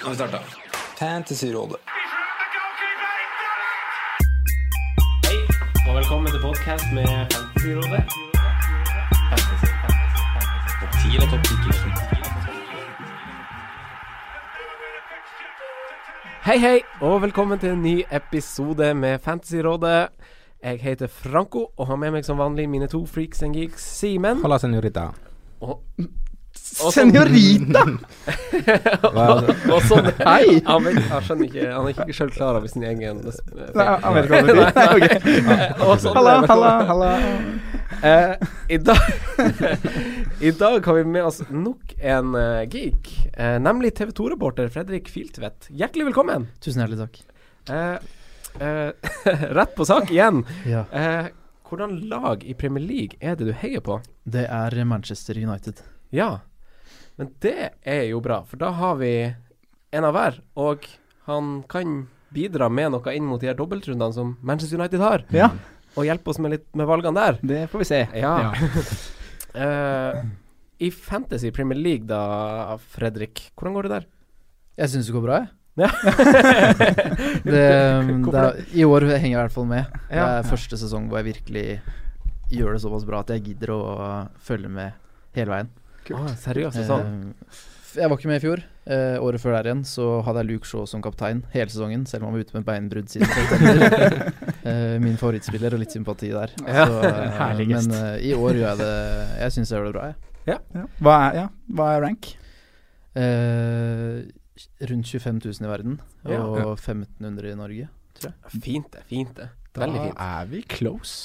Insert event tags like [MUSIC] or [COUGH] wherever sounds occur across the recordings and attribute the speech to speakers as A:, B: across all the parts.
A: Nå har vi starta. Fantasyrådet.
B: Hei, og velkommen til podcast med Fantasyrådet. Hei, hei, og velkommen til en ny episode med Fantasyrådet. Jeg heter Franco og har med meg som vanlig mine to freaks and geeks, Simen
C: Hola, senorita.
B: og som-
D: sånn.
E: Senorita!
B: [LAUGHS] og som-
E: Hei!
B: Han, vet, han skjønner ikke Han er ikke sjøl klar over sin egen eh, feil.
E: Nei, jeg vet ikke hva det betyr. [LAUGHS] Nei, ok.
B: Og som-
E: Halla, halla, halla.
B: Eh, i, dag, [LAUGHS] I dag har vi med oss nok en eh, geek, eh, nemlig TV 2-reporter Fredrik Filtvedt. Hjertelig velkommen!
D: [LAUGHS] Tusen hjertelig takk.
B: Eh, eh, [LAUGHS] rett på sak igjen.
D: Ja.
B: Eh, hvordan lag i Premier League er det du heier på?
D: Det er Manchester United.
B: Ja, men det er jo bra, for da har vi en av hver, og han kan bidra med noe inn mot de her dobbeltrundene som Manchester United har,
E: Ja,
B: og hjelpe oss med litt med valgene der.
E: det får vi se.
B: Ja. [LAUGHS] Eh, I Fantasy Premier League da, Fredrik, hvordan går det der?
D: Jeg syns det går bra, jeg.
B: Ja.
D: [LAUGHS] det, det er, I år henger jeg i hvert fall med. Det
B: Ja.
D: er første sesong hvor jeg virkelig gjør det såpass bra at jeg gidder å følge med hele veien.
B: Ah, seriøst, det er sånn.
D: Eh, f- jeg var ikke med i fjor. Eh, året før der igjen så hadde jeg Luke Shaw som kaptein hele sesongen, selv om han var ute med beinbrudd [LAUGHS] siden september. Eh, min favorittspiller og litt sympati der.
B: Ja.
D: Så, eh,
E: Herligst.
D: men eh, i år gjør jeg det Jeg syns jeg gjør det bra, jeg.
E: Ja. Hva er, ja. Hva er rank?
D: Eh, rundt 25 000 i verden,
B: Ja.
D: og 1500 i Norge.
B: Fint det, fint det. Veldig fint.
C: Da er vi close.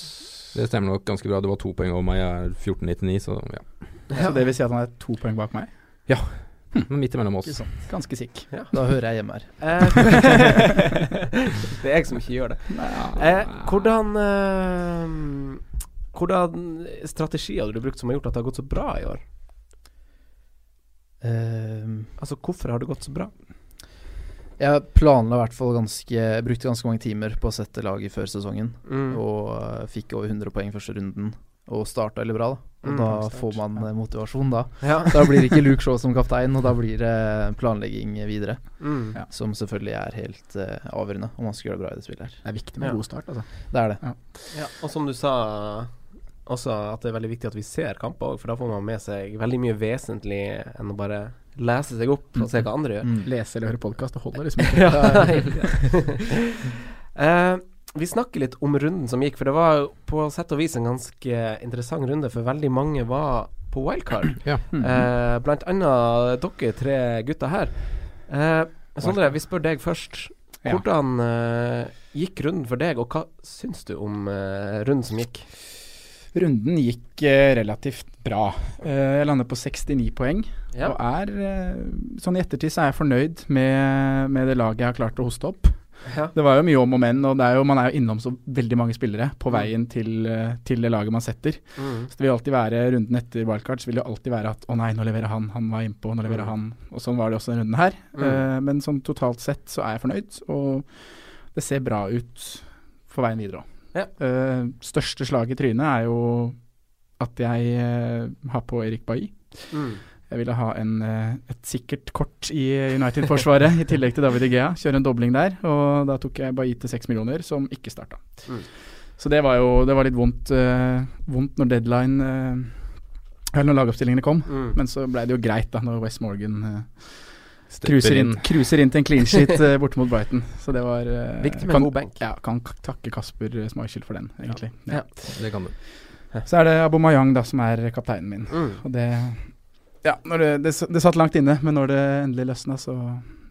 C: Det stemmer nok ganske bra. Det var to poeng over meg. Jeg er 14,99, så ja.
E: Så det vil si at han er to poeng bak meg?
C: Men midt imellom oss.
D: Ikke sant.
E: Ganske sikk.
D: Da hører jeg hjemme her.
B: Eh, [LAUGHS] det er jeg som ikke gjør det. Eh, hvordan eh, Hvordan strategi hadde du brukt som har gjort at det har gått så bra i år?
D: Eh,
B: Altså, hvorfor har det gått så bra?
D: jeg planla i hvert fall ganske Jeg brukte ganske mange timer på å sette laget før sesongen,
B: Mm.
D: og eh, fikk over 100 poeng første runden. Og starta veldig bra, da. Og
B: Mm,
D: da
E: stark
D: får
E: start.
D: man
E: Ja.
D: eh, motivasjon, da.
B: Ja.
D: Da blir det ikke Luke Shaw som kaptein, og da blir det planlegging videre.
B: Mm.
E: Ja.
D: Som selvfølgelig er helt eh, avgjørende om man skal gjøre det bra i det spillet her.
E: Det er viktig
B: med
E: med
B: Ja. god
E: god start, altså.
D: Det er det.
B: Ja, og som du sa også, at det er veldig viktig at vi ser kamper òg, for da får man med seg veldig mye vesentlig enn å bare lese seg opp og se hva andre gjør.
D: Mm.
E: Lese eller høre podkast, det holder liksom [LAUGHS] ikke.
B: Ja, [LAUGHS] Eh, vi snakker litt om runden som gikk, for det var jo på sett og vis en ganske interessant runde, for veldig mange var på wildcard.
C: Ja.
E: Mhm.
B: Eh, blant annet dere tre gutta her. Eh, Sondre, vi spør deg først.
E: Ja.
B: Hvordan eh, gikk runden for deg, og hva syns du om eh, runden som gikk?
E: Runden gikk eh, relativt bra. Eh, Jeg landet på 69 poeng, og er eh, Sånn i ettertid så er jeg fornøyd med, med det laget jeg har klart å hoste opp.
B: ja.
E: Det var jo mye om og men, og det er jo, man er jo innom så veldig mange spillere på veien til, eh, til det laget man setter.
B: Mm.
E: Så det vil alltid være runden etter wildcard, så vil det alltid være at å nei, nå leverer han, han var innpå, nå leverer
B: Mm.
E: han. Og sånn var det også denne runden her.
B: Mm.
E: Eh, men sånn totalt sett så er jeg fornøyd, og det ser bra ut for veien videre òg.
B: Ja.
E: største slag i trynet er jo at jeg eh, har på Erik Bailly.
B: Mm.
E: Jeg ville ha en, eh, et sikkert kort i United-forsvaret, i tillegg til David Igea. Kjøre en dobling der. Og da tok jeg Bailly til seks millioner, som ikke starta.
B: Mm.
E: Så det var jo det var litt vondt, eh, vondt når deadline eh, Eller når lagoppstillingene kom.
B: Mm.
E: Men så blei det jo greit da når West Morgan eh,
C: Stepper
E: cruiser inn, cruiser inn til en
B: [LAUGHS]
E: clean sheet eh, borte mot Brighton. Så det var eh,
B: Viktig med
E: kan,
B: god benk.
E: Ja, kan k- takke Kasper eh, Schmeichel for den, egentlig.
B: Ja.
E: Ja.
C: Det kan du.
E: Så er det Abomayang da, som er kapteinen min.
B: Mm.
E: Og det Ja, når det, det, s- det satt langt inne, men når det endelig løsna, så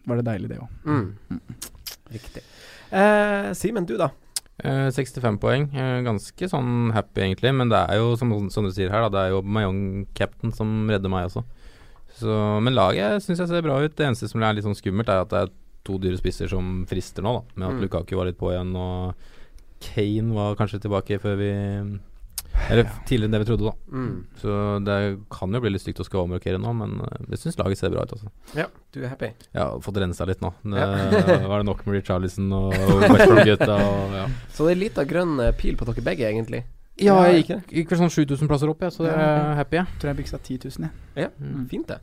E: var det deilig, det òg.
B: Mm. Riktig. Eh, Simen, du da?
C: Eh, 65 poeng. Eh, ganske sånn happy, egentlig. Men det er jo, som, som du sier her, da, det er jo Mayong Captain som redder meg også. Så, men laget syns jeg ser bra ut. Det eneste som er litt sånn skummelt, er at det er to dyre spisser som frister nå, da. Med at
B: Mm.
C: Lukaku var litt på igjen, og Kane var kanskje tilbake før vi Eller tidligere enn det vi trodde, da.
B: Mm.
C: Så det kan jo bli litt stygt å skulle omrokere nå, men eh, jeg syns laget ser bra ut, altså.
B: Ja, du er happy?
C: Jeg har fått rensa litt nå. Det [LAUGHS] eh,
B: Ja.
C: var det nok med Richarlison og Westbrook-gutta. og- Ja.
B: Så det er lita grønn eh, pil på dere begge, egentlig.
C: ja,
B: jeg
C: jeg gikk, gikk vel sånn 7000 plasser opp, jeg, så det
E: Ja.
C: er happy, jeg.
E: Tror jeg biksa 10 000, jeg.
B: Ja,
C: Mm.
B: fint det.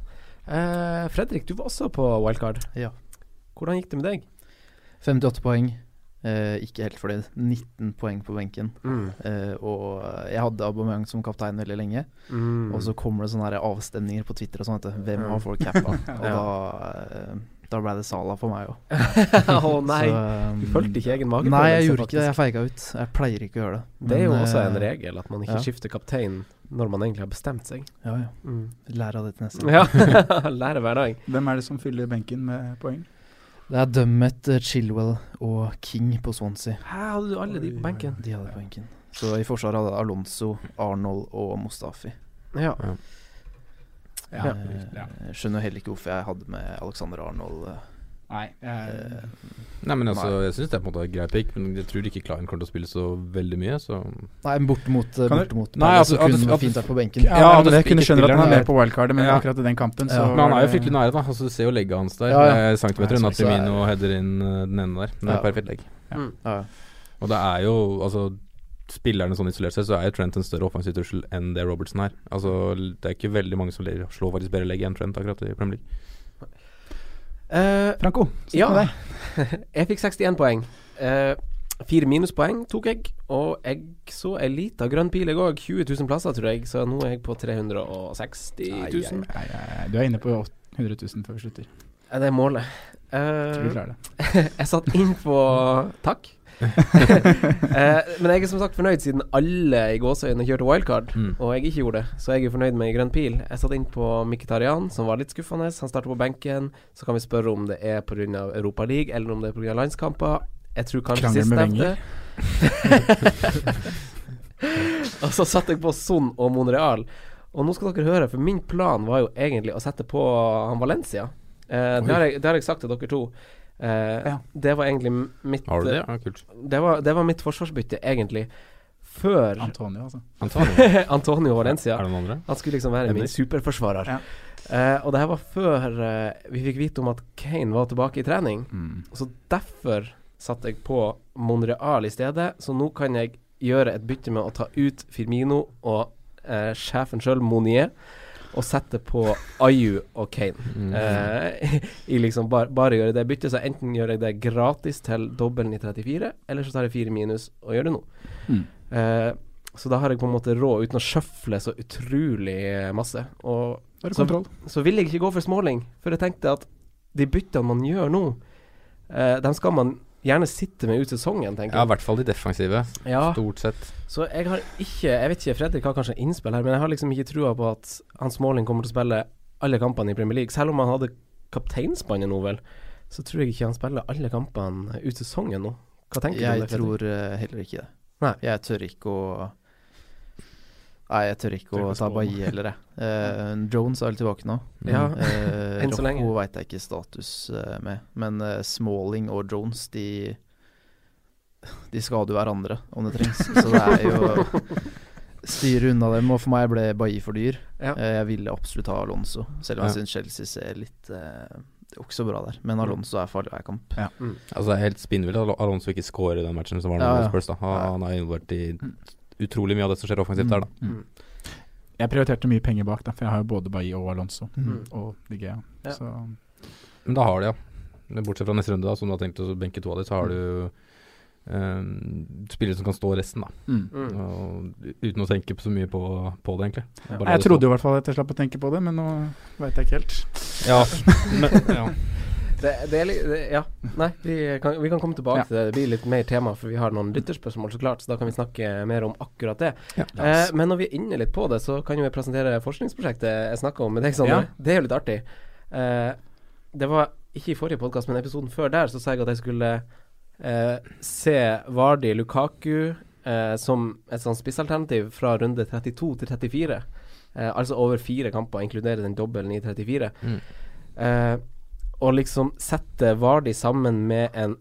B: Eh, Fredrik, du var også på wildcard.
D: Ja.
B: Hvordan gikk det med deg?
D: 58 poeng. Eh, ikke helt fornøyd. 19 poeng på benken.
B: Mm.
D: Eh, og jeg hadde Aubameyang som kaptein veldig lenge.
B: Mm.
D: Og så kommer det sånne her avstemninger på Twitter og sånn. vet du. Hvem
B: Mm.
D: har folk
B: [LAUGHS]
D: cappa? Og
B: Ja.
D: da, eh, da ble det Sala for meg òg.
B: [LAUGHS] Å
D: [LAUGHS]
B: nei. Du fulgte ikke egen magefølelse?
D: Nei, jeg gjorde
B: faktisk.
D: ikke det. Jeg feiga ut. Jeg pleier ikke å gjøre det.
B: Det er jo
D: Men,
B: også
D: eh,
B: en regel at man ikke
D: ja.
B: skifter kaptein når man egentlig har bestemt seg.
D: Ja, ja. Lær av det til neste gang.
B: Ja, [LAUGHS] lære hver dag.
E: Hvem er det som fyller benken med poeng?
D: Det er dømmet eh, Chilwell og King på Swansea.
B: Hæ, hadde du alle de på benken?
D: De hadde poengen. Så i forsvaret hadde jeg Alonso, Arnold og Mustafi.
B: Ja.
E: Ja.
D: Eh,
E: ja.
D: Jeg skjønner heller ikke hvorfor jeg hadde med Alexander Arnold. eh,
E: Nei, jeg,
D: eh,
C: Nei, men altså, jeg syns det er på en måte et greit pick, men jeg tror ikke Klein kommer til å spille så veldig mye, så
D: Nei, men bortimot eh,
E: Kan du-
D: bortimot
C: Nei, altså,
D: Palace, så
C: at
D: kunne
C: det-
D: man
C: at
D: fint
C: det-
D: vært på benken.
E: ja,
C: Ja, men
E: jeg
C: det
E: kunne skjønne at han er med
C: spiller-
E: på wildcardet, men
C: Ja.
E: akkurat i den kampen, så
D: Ja.
C: Men han
E: var
C: er jo
E: det-
C: fryktelig nære, da. Altså, du ser jo legget hans der.
D: Ja, ja.
C: eh, Centimeter
D: Nei,
C: unna
D: så- så er-
C: Firmino og header inn eh, den ene der. Det er
D: Ja.
C: perfekt legg.
B: Mm.
D: Ja.
C: Og det er jo altså Spillerne sånn isolert sett, så er jo Trent en større offensiv trussel enn det Robertson er. Altså, det er ikke veldig mange som ler- slår faktisk bedre legg enn Trent akkurat i Premier League.
B: Eh,
E: Franco, sitt
B: Ja.
E: med deg.
B: jeg fikk 61 poeng. Eh, fire minuspoeng tok jeg, og jeg så ei lita grønn pil jeg òg. 20 000 plasser, tror jeg, så nå er jeg på 360 000.
E: Nei, nei, nei, du er inne på 100 000 før vi slutter.
B: Eh, Det er målet. Eh,
E: Tror du klarer det.
B: [LAUGHS] Jeg satt inn på Takk. eh, men jeg er som sagt fornøyd siden alle i gåseøynene kjørte wildcard,
C: Mm.
B: og jeg ikke gjorde det. Så jeg er fornøyd med grønn pil. Jeg satt inn på Mkhitarian, som var litt skuffende. Han starter på benken. Så kan vi spørre om det er pga. Europa League, eller om det er pga. landskamper. Jeg tror kanskje
E: Krangel med
B: sistnevnte. [LAUGHS] og så satte jeg på Son og Monreal. Og nå skal dere høre, for min plan var jo egentlig å sette på han Valencia. Eh, det, har jeg, det har jeg sagt til dere to. Eh,
E: Ja.
B: Det var egentlig m- mitt
C: Har du det? Ja, kult.
B: det var, det var mitt forsvarsbytte, egentlig. Før
E: Antonio, altså.
C: [LAUGHS] Antonio.
B: [LAUGHS] Antonio
C: Er
B: Valencia.
C: det noen andre?
B: Han skulle liksom være min
C: Enig.
B: superforsvarer.
E: Ja.
B: Eh, og det her var før eh, vi fikk vite om at Kane var tilbake i trening.
E: Mm.
B: Så derfor satte jeg på Monreal i stedet. Så nå kan jeg gjøre et bytte med å ta ut Firmino og eh, sjefen sjøl, Monier, og sette på Ayu og Kane.
C: Mm.
B: Eh, [LAUGHS] I liksom bar, bare gjøre det byttet, så enten gjør jeg det gratis til dobbelen i 34, eller så tar jeg 4 minus og gjør det nå.
E: Mm.
B: Eh, så da har jeg på en måte råd, uten å sjøfle så utrolig masse. Og
E: Da har du
B: Så-
E: kontroll.
B: så vil jeg ikke gå for småling, for jeg tenkte at de byttene man gjør nå, eh, dem skal man gjerne sitte med ut sesongen, tenker
C: Ja, i
B: jeg.
C: hvert fall de defensive,
B: Ja,
C: stort sett.
B: så jeg har ikke Jeg vet ikke, Fredrik har kanskje innspill her, men jeg har liksom ikke trua på at han Smalling kommer til å spille alle kampene i Premier League. Selv om han hadde kapteinspannet nå, vel, så tror jeg ikke han spiller alle kampene ut sesongen nå. Hva tenker du om
D: Jeg
B: det? Fredrik?
D: tror eh, heller ikke det.
B: Nei.
D: Jeg tør ikke å Nei, jeg tør ikke
E: Tør ikke
D: å
E: å
D: ta
E: spå.
D: Bailly heller, jeg. Eh, Jones er vel tilbake nå.
C: Mm.
B: Ja.
D: Uh,
B: Enn så lenge.
D: Rocco veit jeg ikke status eh, med. Men eh, Smalling og Jones, de De skader jo hverandre om det trengs. Så det er jo å styre unna dem. Og for meg ble Bailly for dyr.
B: Ja.
D: Eh, jeg ville absolutt ha Alonso, selv om jeg
C: Ja.
D: syns Chelsea ser litt eh, Det er ikke så bra der. Men Alonso er farlig hver kamp.
C: Altså, det er helt spinnvilt at Al- Alonso ikke scorer i den matchen som var nå
D: Ja,
C: mot
D: ja.
C: Spurs. Da. Han,
D: Ja.
C: han er involvert i utrolig mye av det som skjer offensivt der, da.
E: Mm. Jeg prioriterte mye penger bak, da, for jeg har jo både Bailly og Alonso og Digea.
B: Ja.
E: Så
C: Men da har du, ja. Men Bortsett fra neste runde, da, som du har tenkt å benke to av de, så har du eh, spillere som kan stå resten, da.
E: mm.
B: Mm.
C: Og, uten å tenke så mye på, på det, egentlig.
B: Ja.
C: Bare la
E: Jeg
C: det
E: trodde
C: stå.
E: jo i hvert fall at jeg slapp å tenke på det, men nå veit jeg ikke helt.
C: Ja. Men, ja.
B: Det, det er litt det, Ja. Nei, vi kan, vi kan komme tilbake
E: Ja.
B: til det. Det blir litt mer tema, for vi har noen lytterspørsmål, så klart. Så da kan vi snakke mer om akkurat det.
C: Ja.
B: Eh, men når vi er inne litt på det, så kan jo jeg presentere forskningsprosjektet jeg snakka om med deg, Sander. Det er jo litt artig. Eh, det var ikke i forrige podkast, men episoden før der, så sa jeg at jeg skulle eh, se Vardi Lukaku eh, som et sånn spissalternativ fra runde 32 til 34. Eh, altså over fire kamper, inkludere den dobbelen i 34.
C: Mm.
B: Eh, og liksom sette Vardi sammen med en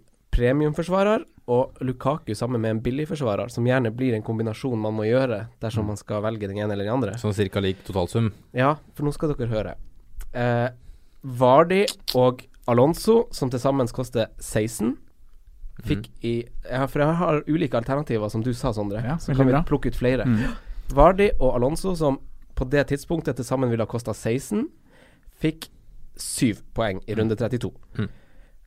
B: premiumforsvarer og Lukaku sammen med en billigforsvarer, som gjerne blir en kombinasjon man må gjøre dersom man skal velge den ene eller den andre.
C: Sånn cirka lik totalsum.
B: Ja, for nå skal dere høre. Eh, Vardi og Alonso, som til sammen koster 16, fikk
E: Mhm.
B: i ja, For jeg har ulike alternativer, som du sa, Sondre.
E: Ja,
B: så
E: veldig
B: kan vi
E: bra.
B: plukke ut flere.
E: Mm.
B: Vardi og Alonso, som på det tidspunktet til sammen ville ha kosta 16, fikk 7 poeng i runde 32.
C: Mm.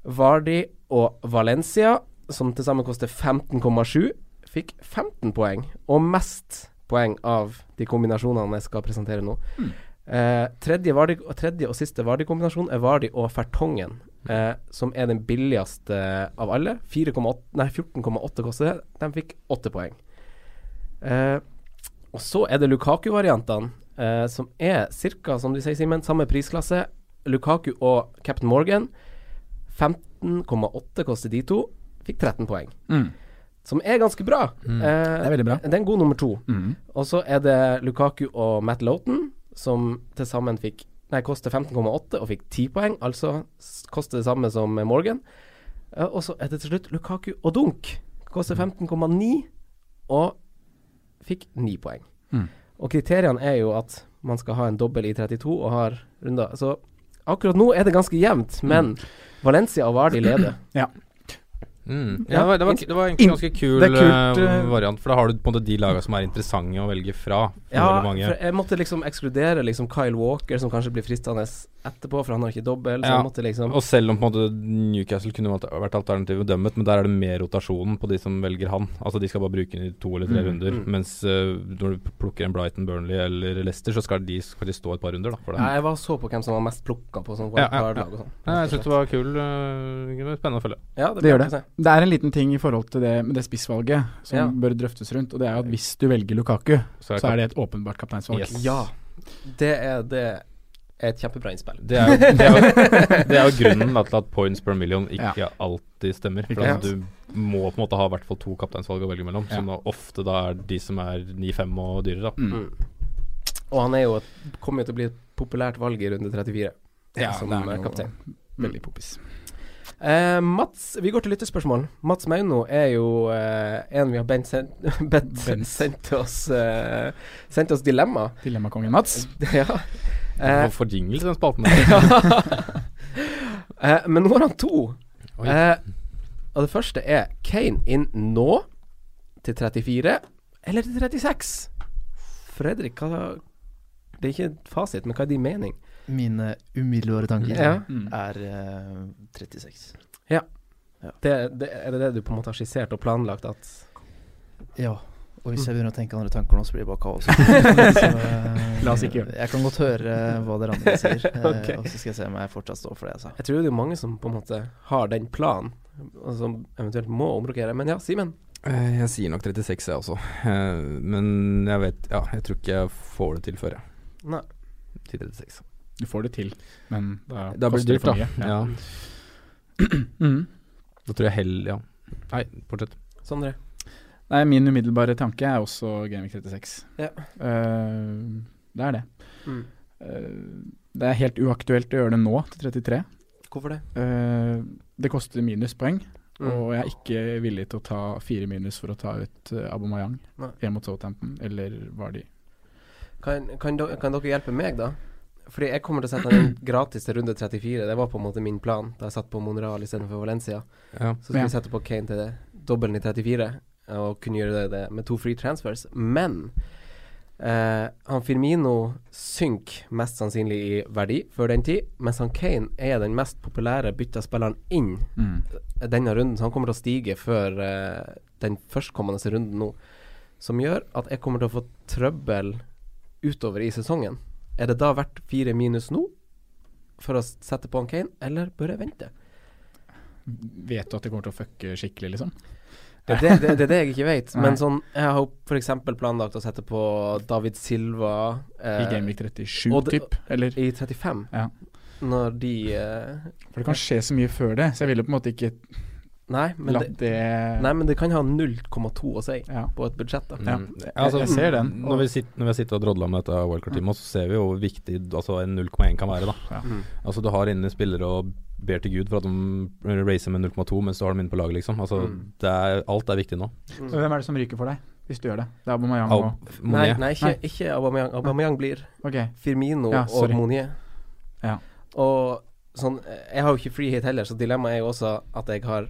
B: Vardi og Valencia, som til sammen koster 15,7, fikk 15 poeng, og mest poeng av de kombinasjonene jeg skal presentere nå. Eh, tredje, Vardy, og tredje og siste Vardi-kombinasjon er Vardi og Fertongen, eh, som er den billigste av alle. 4,8 nei, 14,8 koster det. De fikk 8 poeng. Eh, og så er det Lukaku-variantene, eh, som er ca. som du sier, Simen, samme prisklasse. Lukaku og Captain Morgan. 15,8 koster de to. Fikk 13 poeng.
E: Mm.
B: Som er ganske bra. Eh,
E: Det er veldig bra.
B: det er en god nummer to.
E: Mm.
B: Og så er det Lukaku og Matt Loughton, som til sammen fikk Nei, koster 15,8 og fikk 10 poeng, altså s- koster det samme som Morgan. Eh, Og så er det til slutt Lukaku og Dunk. Koster 15,9 og fikk 9 poeng.
E: Mm.
B: Og kriteriene er jo at man skal ha en dobbel i 32 og har runder. Så akkurat nå er det ganske jevnt, men Valencia og Vardi leder.
C: Mm.
B: Ja,
C: Ja, det var, det var, det var egentlig en ganske kul
E: det er kult,
C: eh,
E: eh,
C: variant, for da har du på en måte de lagene som er interessante å velge fra. for
B: Ja,
C: veldig
B: for
C: mange.
B: jeg måtte liksom ekskludere liksom Kyle Walker, som kanskje blir fristende etterpå, for han har ikke dobbel. Så
C: Ja.
B: jeg måtte liksom
C: Og selv om på en måte Newcastle kunne vært- vært alternativet dømmet, men der er det mer rotasjonen på de som velger han. Altså De skal bare bruke den i to eller tre
E: Mm,
C: runder.
B: mm.
C: Mens eh, når du plukker en Brighton, Burnley eller Leicester, så skal de faktisk stå et par runder. da for det.
B: Nei, jeg var så på hvem som var mest plukka på sånn
C: Ja, ja,
B: wildcard-lag og sånn.
C: Nei, Jeg syns det var kul. eh, det var spennende å følge.
B: Ja,
E: Det gjør
B: blir artig å se.
E: Det er en liten ting i forhold til det med det spissvalget som
B: Ja.
E: bør drøftes rundt, og det er jo at hvis du velger Lukaku,
C: jeg
E: så er det et åpenbart kapteinsvalg.
C: Yes.
B: Ja. Det er, det er et kjempebra innspill.
C: Det er, jo- det, er jo, det er jo grunnen da, til at points per million ikke alltid stemmer. For
E: Ikke
C: at du må på en måte ha i hvert fall to kapteinsvalg å velge mellom, som da ofte da er de som er 9-5 og dyrere. da
E: Mm.
B: [LAUGHS] Mm. Og han er jo et- kommer jo til å bli et populært valg i runde 34
E: Ja,
B: som
E: det er
B: eh,
E: jo- mm.
B: kaptein.
E: Veldig poppis.
B: Eh, Mats, vi går til lyttespørsmål. Mats Mauno er jo eh, en vi har bedt sen- [LAUGHS] bedt-
E: Bent.
B: sendt oss eh, Sendt oss dilemma.
E: Dilemmakongen Mats.
B: [LAUGHS] ja. Eh,
C: Hvorfor får jingle til den spalten? der?
B: [LAUGHS] eh, men nå har han to.
C: Oi.
B: Eh, og det første er Kane inn nå til 34 eller til 36? Fredrik, hva Det er ikke en fasit, men hva er din mening?
D: Mine umiddelbare tanker
B: Ja.
E: Mm.
D: er eh, 36.
B: Det, det, er det det du på en måte har skissert og planlagt at
D: Ja. Og hvis jeg begynner å tenke andre tanker nå, så blir det bare kaos. Så, eh,
E: La oss ikke gjøre det.
D: Jeg kan godt høre eh, hva dere andre sier, eh,
B: Ok.
D: og så skal jeg se om jeg fortsatt står for det jeg sa.
B: Jeg tror det er mange som på en måte har den planen, og som eventuelt må omrokere. Men ja, Simen.
C: Eh, Jeg sier nok 36, jeg også. Eh, Men jeg vet Ja, jeg tror ikke jeg får det til før, jeg.
B: Nei.
C: Til 36.
E: Du får det til, men da,
C: Da blir
E: koster
C: det dyrt, da.
E: for mye.
C: Ja.
E: Mm.
C: Da tror jeg heller Ja. Nei, fortsett.
B: Sondre.
E: Nei, min umiddelbare tanke er også Gaming 36.
B: Ja.
E: Eh, det er det.
B: Mm.
E: Eh, det er helt uaktuelt å gjøre det nå, til 33.
B: Hvorfor det?
E: Eh, det koster minuspoeng,
B: Mm.
E: og jeg er ikke villig til å ta fire minus for å ta ut uh, Abomayang
B: Nei.
E: hjem mot Southampton, eller Vardy.
B: Kan, kan, do- kan dere hjelpe meg, da? Fordi jeg kommer til å sette den inn gratis til runde 34. Det var på en måte min plan da jeg satt på Monreal istedenfor Valencia.
C: Ja.
B: Så skulle
E: Ja.
B: vi sette på Kane til det dobbelen i 34, og kunne gjøre det, det med to free transfers. Men eh, han Firmino synker mest sannsynlig i verdi før den tid, mens han Kane er den mest populære bytta spilleren inn
E: mm,
B: denne runden, så han kommer til å stige før eh, den førstkommende runden nå. Som gjør at jeg kommer til å få trøbbel utover i sesongen. Er det da verdt fire minus nå for å s- sette på en Kane, eller bør jeg vente?
E: Vet du at det kommer til å fucke skikkelig, liksom?
B: Det er det, det, det, er det jeg ikke vet.
E: [LAUGHS] Nei.
B: Men sånn, jeg har jo f.eks. planlagt å sette på David Silva eh,
E: I Gameweek 37,
B: og det-
E: typ? Eller?
B: i 35,
E: Ja.
B: når de eh,
E: For det kan skje så mye før det, så jeg ville på en måte ikke
B: nei, men det,
E: latt det
B: nei, men det kan ha 0,2 å si
E: Ja.
B: på et budsjett, da.
E: Ja.
C: Mm.
E: Jeg-
C: altså,
E: jeg ser den.
C: Når vi, sitter, når vi sitter og drodler med dette wildcard-teamet, så ser vi jo hvor viktig altså, en 0,1 kan være. da
E: Ja.
B: Mm.
C: Altså Du har inne spillere og ber til Gud for at de racer med 0,2 mens du har dem inne på laget, liksom. Altså
B: Mm.
C: det er, Alt er viktig nå.
E: Så Hvem er det som ryker for deg, hvis du gjør det? Det er Abomayang
C: Au,
E: og
B: Nei,
C: Monet.
B: nei, ikke,
E: Nei.
B: ikke Aubameyang. Aubameyang blir
E: Ok.
B: Firmino
E: Ja,
B: og
E: sorry.
B: Monier.
E: Ja.
B: Og sånn Jeg har jo ikke free hit heller, så dilemmaet er jo også at jeg har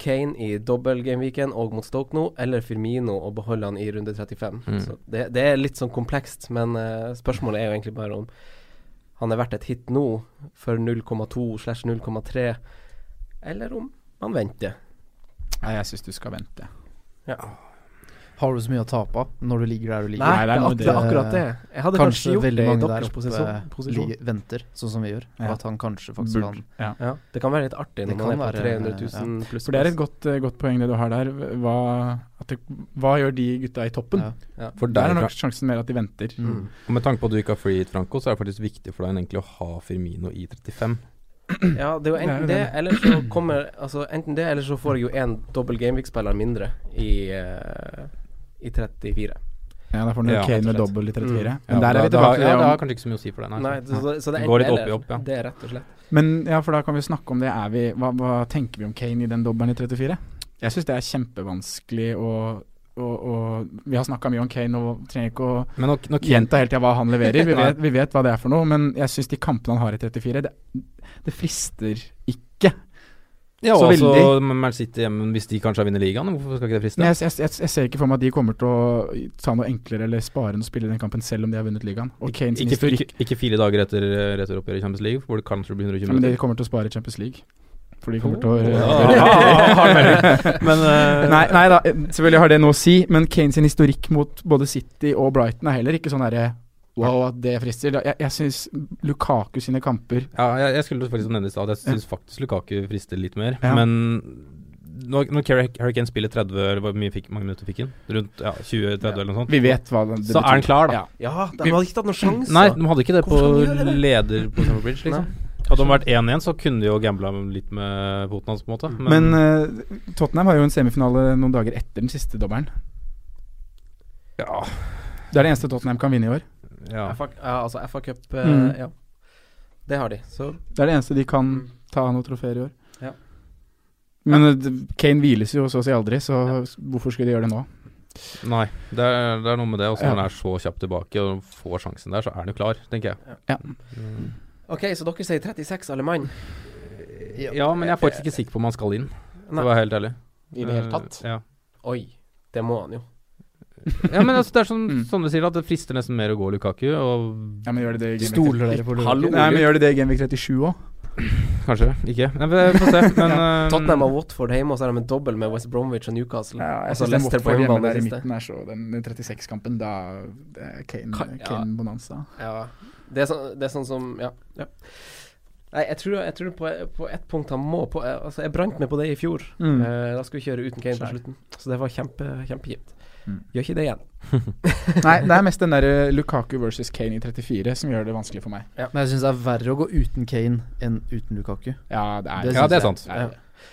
B: Kane i dobbel gameweekend og mot Stoke nå, eller Firmino og beholde han i runde 35.
C: Mm.
B: Så det, det er litt sånn komplekst, men eh, spørsmålet er jo egentlig bare om han er verdt et hit nå for 0,2 slash 0,3, eller om man venter.
E: Nei, jeg syns du skal vente.
D: Har du så mye å tape når du ligger der du ligger?
E: Nei,
B: det er,
E: noe
B: ak- det er akkurat det. Jeg hadde kanskje,
D: Kanskje
B: gjort
D: veldig
B: det i
D: mange der
B: deres posisjon.
D: oppe
B: posisjon.
D: ligger, venter, sånn som vi gjør. Og
E: Ja.
D: at han kanskje faktisk
E: Burde.
D: kan
E: Ja.
B: Ja, det kan være litt artig når
D: Det
B: man
D: kan
B: er på
D: være,
B: 300 000 pluss.
E: For det er et godt, eh, godt poeng det du har der. Hva, at det, hva gjør de gutta i toppen?
D: Ja.
C: For
E: Der
C: deg,
E: er nok sjansen mer at de venter.
D: Mm.
C: og med tanke på at du ikke har free hit, Franco, så er det faktisk viktig for deg egentlig å ha Firmino i 35.
B: Mm. Ja, det er jo enten
E: Det
B: det,
E: er jo
B: eller så kommer Altså enten det, eller så får jeg jo en dobbel Gameweek-spiller mindre i, eh, i 34.
E: Ja, da får du
C: Ja,
E: Kane
B: rett og slett.
E: med dobbel i 34.
B: Mm.
E: Men
C: Ja,
E: der er
C: da-
E: vi
C: da-
E: tilbake til
C: ja, det
E: det.
C: har
E: om-
C: kanskje ikke så mye å si for deg, nei.
B: Nei, så, så, så det er
C: Det
B: enten
C: går litt opp i
B: eller.
C: opp, ja.
B: Det er rett og slett.
E: Men ja, for da kan vi snakke om det. Er vi, hva, hva tenker vi om Kane i den dobbelen i 34? Jeg syns det er kjempevanskelig å og, vi har snakka mye om Kane og trenger ikke å
C: Men nok, nok
E: gjenta helt til hva han
C: [LAUGHS]
E: leverer. Vi vet, vi vet hva det er for noe, men jeg syns de kampene han har i 34, det, det frister ikke.
C: ja,
E: så
C: og
E: veldig.
C: også Man City hjemme, hvis de kanskje har vunnet ligaen, hvorfor skal ikke det friste?
E: Men jeg, jeg, jeg, jeg ser ikke for meg at de kommer til å ta noe enklere eller spare enn å spille den kampen selv om de har vunnet ligaen. Og Kane sin
C: Ikke,
E: historikk
C: ikke, ikke fire dager etter eh, returoppgjøret i Champions League, hvor det kanskje blir 120
E: Ja, Men de
C: minutter.
E: kommer til å spare Champions League. For de kommer til å
C: [LAUGHS]
E: [LAUGHS]
C: Men eh,
E: nei, nei da, selvfølgelig har det noe å si, men Kane sin historikk mot både City og Brighton er heller ikke sånn derre Wow, at det frister. Da- Jeg, jeg syns Lukaku sine kamper
C: Ja, jeg, jeg skulle faktisk nevne i stad at jeg syns faktisk Lukaku frister litt mer.
E: Ja.
C: Men når, når Harry Harry Kane spiller 30 eller hvor mye fikk, mange minutter fikk han? Rundt ja, 20-30 eller noe sånt.
E: Vi vet hva det, det
C: Så er han klar, da.
B: Ja, de hadde ikke tatt noen sjanse.
C: Nei, de hadde ikke det på
B: Hvorfor skal de gjøre det?
C: leder på Stamford Bridge, liksom. Hadde de vært 1-1, så kunne de jo gambla litt med foten hans, på en måte.
B: Mm.
E: Men eh, Tottenham har jo en semifinale noen dager etter den siste dommeren.
C: ja,
E: Det er det eneste Tottenham kan vinne i år.
C: ja.
B: FA, ja, altså FA Cup, eh,
E: Mm.
B: ja. Det har de. Så
E: Det er det eneste de kan
C: Mm.
E: ta noe trofeer i år.
B: Ja.
E: Men eh, d- Kane hviles jo så å si aldri, så hvorfor skulle de gjøre det nå?
C: Nei, det er, det er noe med det. Og så
E: Ja.
C: når han er så kjapt tilbake og får sjansen der, så er han jo klar, tenker jeg.
E: Ja.
C: Mm.
B: OK, så dere sier 36 alle mann?
C: Ja, men jeg er faktisk ikke sikker på om han skal inn, for å være helt ærlig.
B: I det hele tatt?
C: Eh, Ja.
B: Oi, det må han jo.
C: Ja, men altså, det er som
E: Mm.
C: Sondre sier, at det frister nesten mer å gå Lukaku, og
E: Ja, men gjør de det i Gameweek
D: Stoler dere på
B: Hallo.
D: Lukaku?
E: Nei, men gjør de det i Gameweek 37 òg?
C: kanskje ikke. Nei, vi får se, men eh,
B: Tottenham har Watford hjemme, og så har de en dobbel med West Bromwich og Newcastle.
E: Ehm, Ja, jeg
B: altså
E: synes den
B: Leicester på
E: Watford hjemme
B: hjemmebane
E: der i
B: siste.
E: midten er så Den, den 36-kampen, da det er Kane,
B: Ka- ja.
E: Kane Bonanza.
B: Ja. Det er, sånn- det er sånn som Ja. ja. Nei, jeg tror, jeg tror på, på ett punkt han må på eh, Altså, jeg brant meg på det i fjor. Eh, da skulle vi kjøre uten Kane på
E: Mm. Skjær.
B: slutten, så det var kjempe kjempegitt.
E: Mm.
B: Gjør ikke det igjen.
E: Nei, det er mest den der eh, Lukaku versus Kane i 34 som gjør det vanskelig for meg.
D: Men jeg syns det er verre å gå uten Kane enn uten Lukaku.
E: Ja, det er
D: Det
C: Ja, det er
D: synes
C: sant.
E: Nei,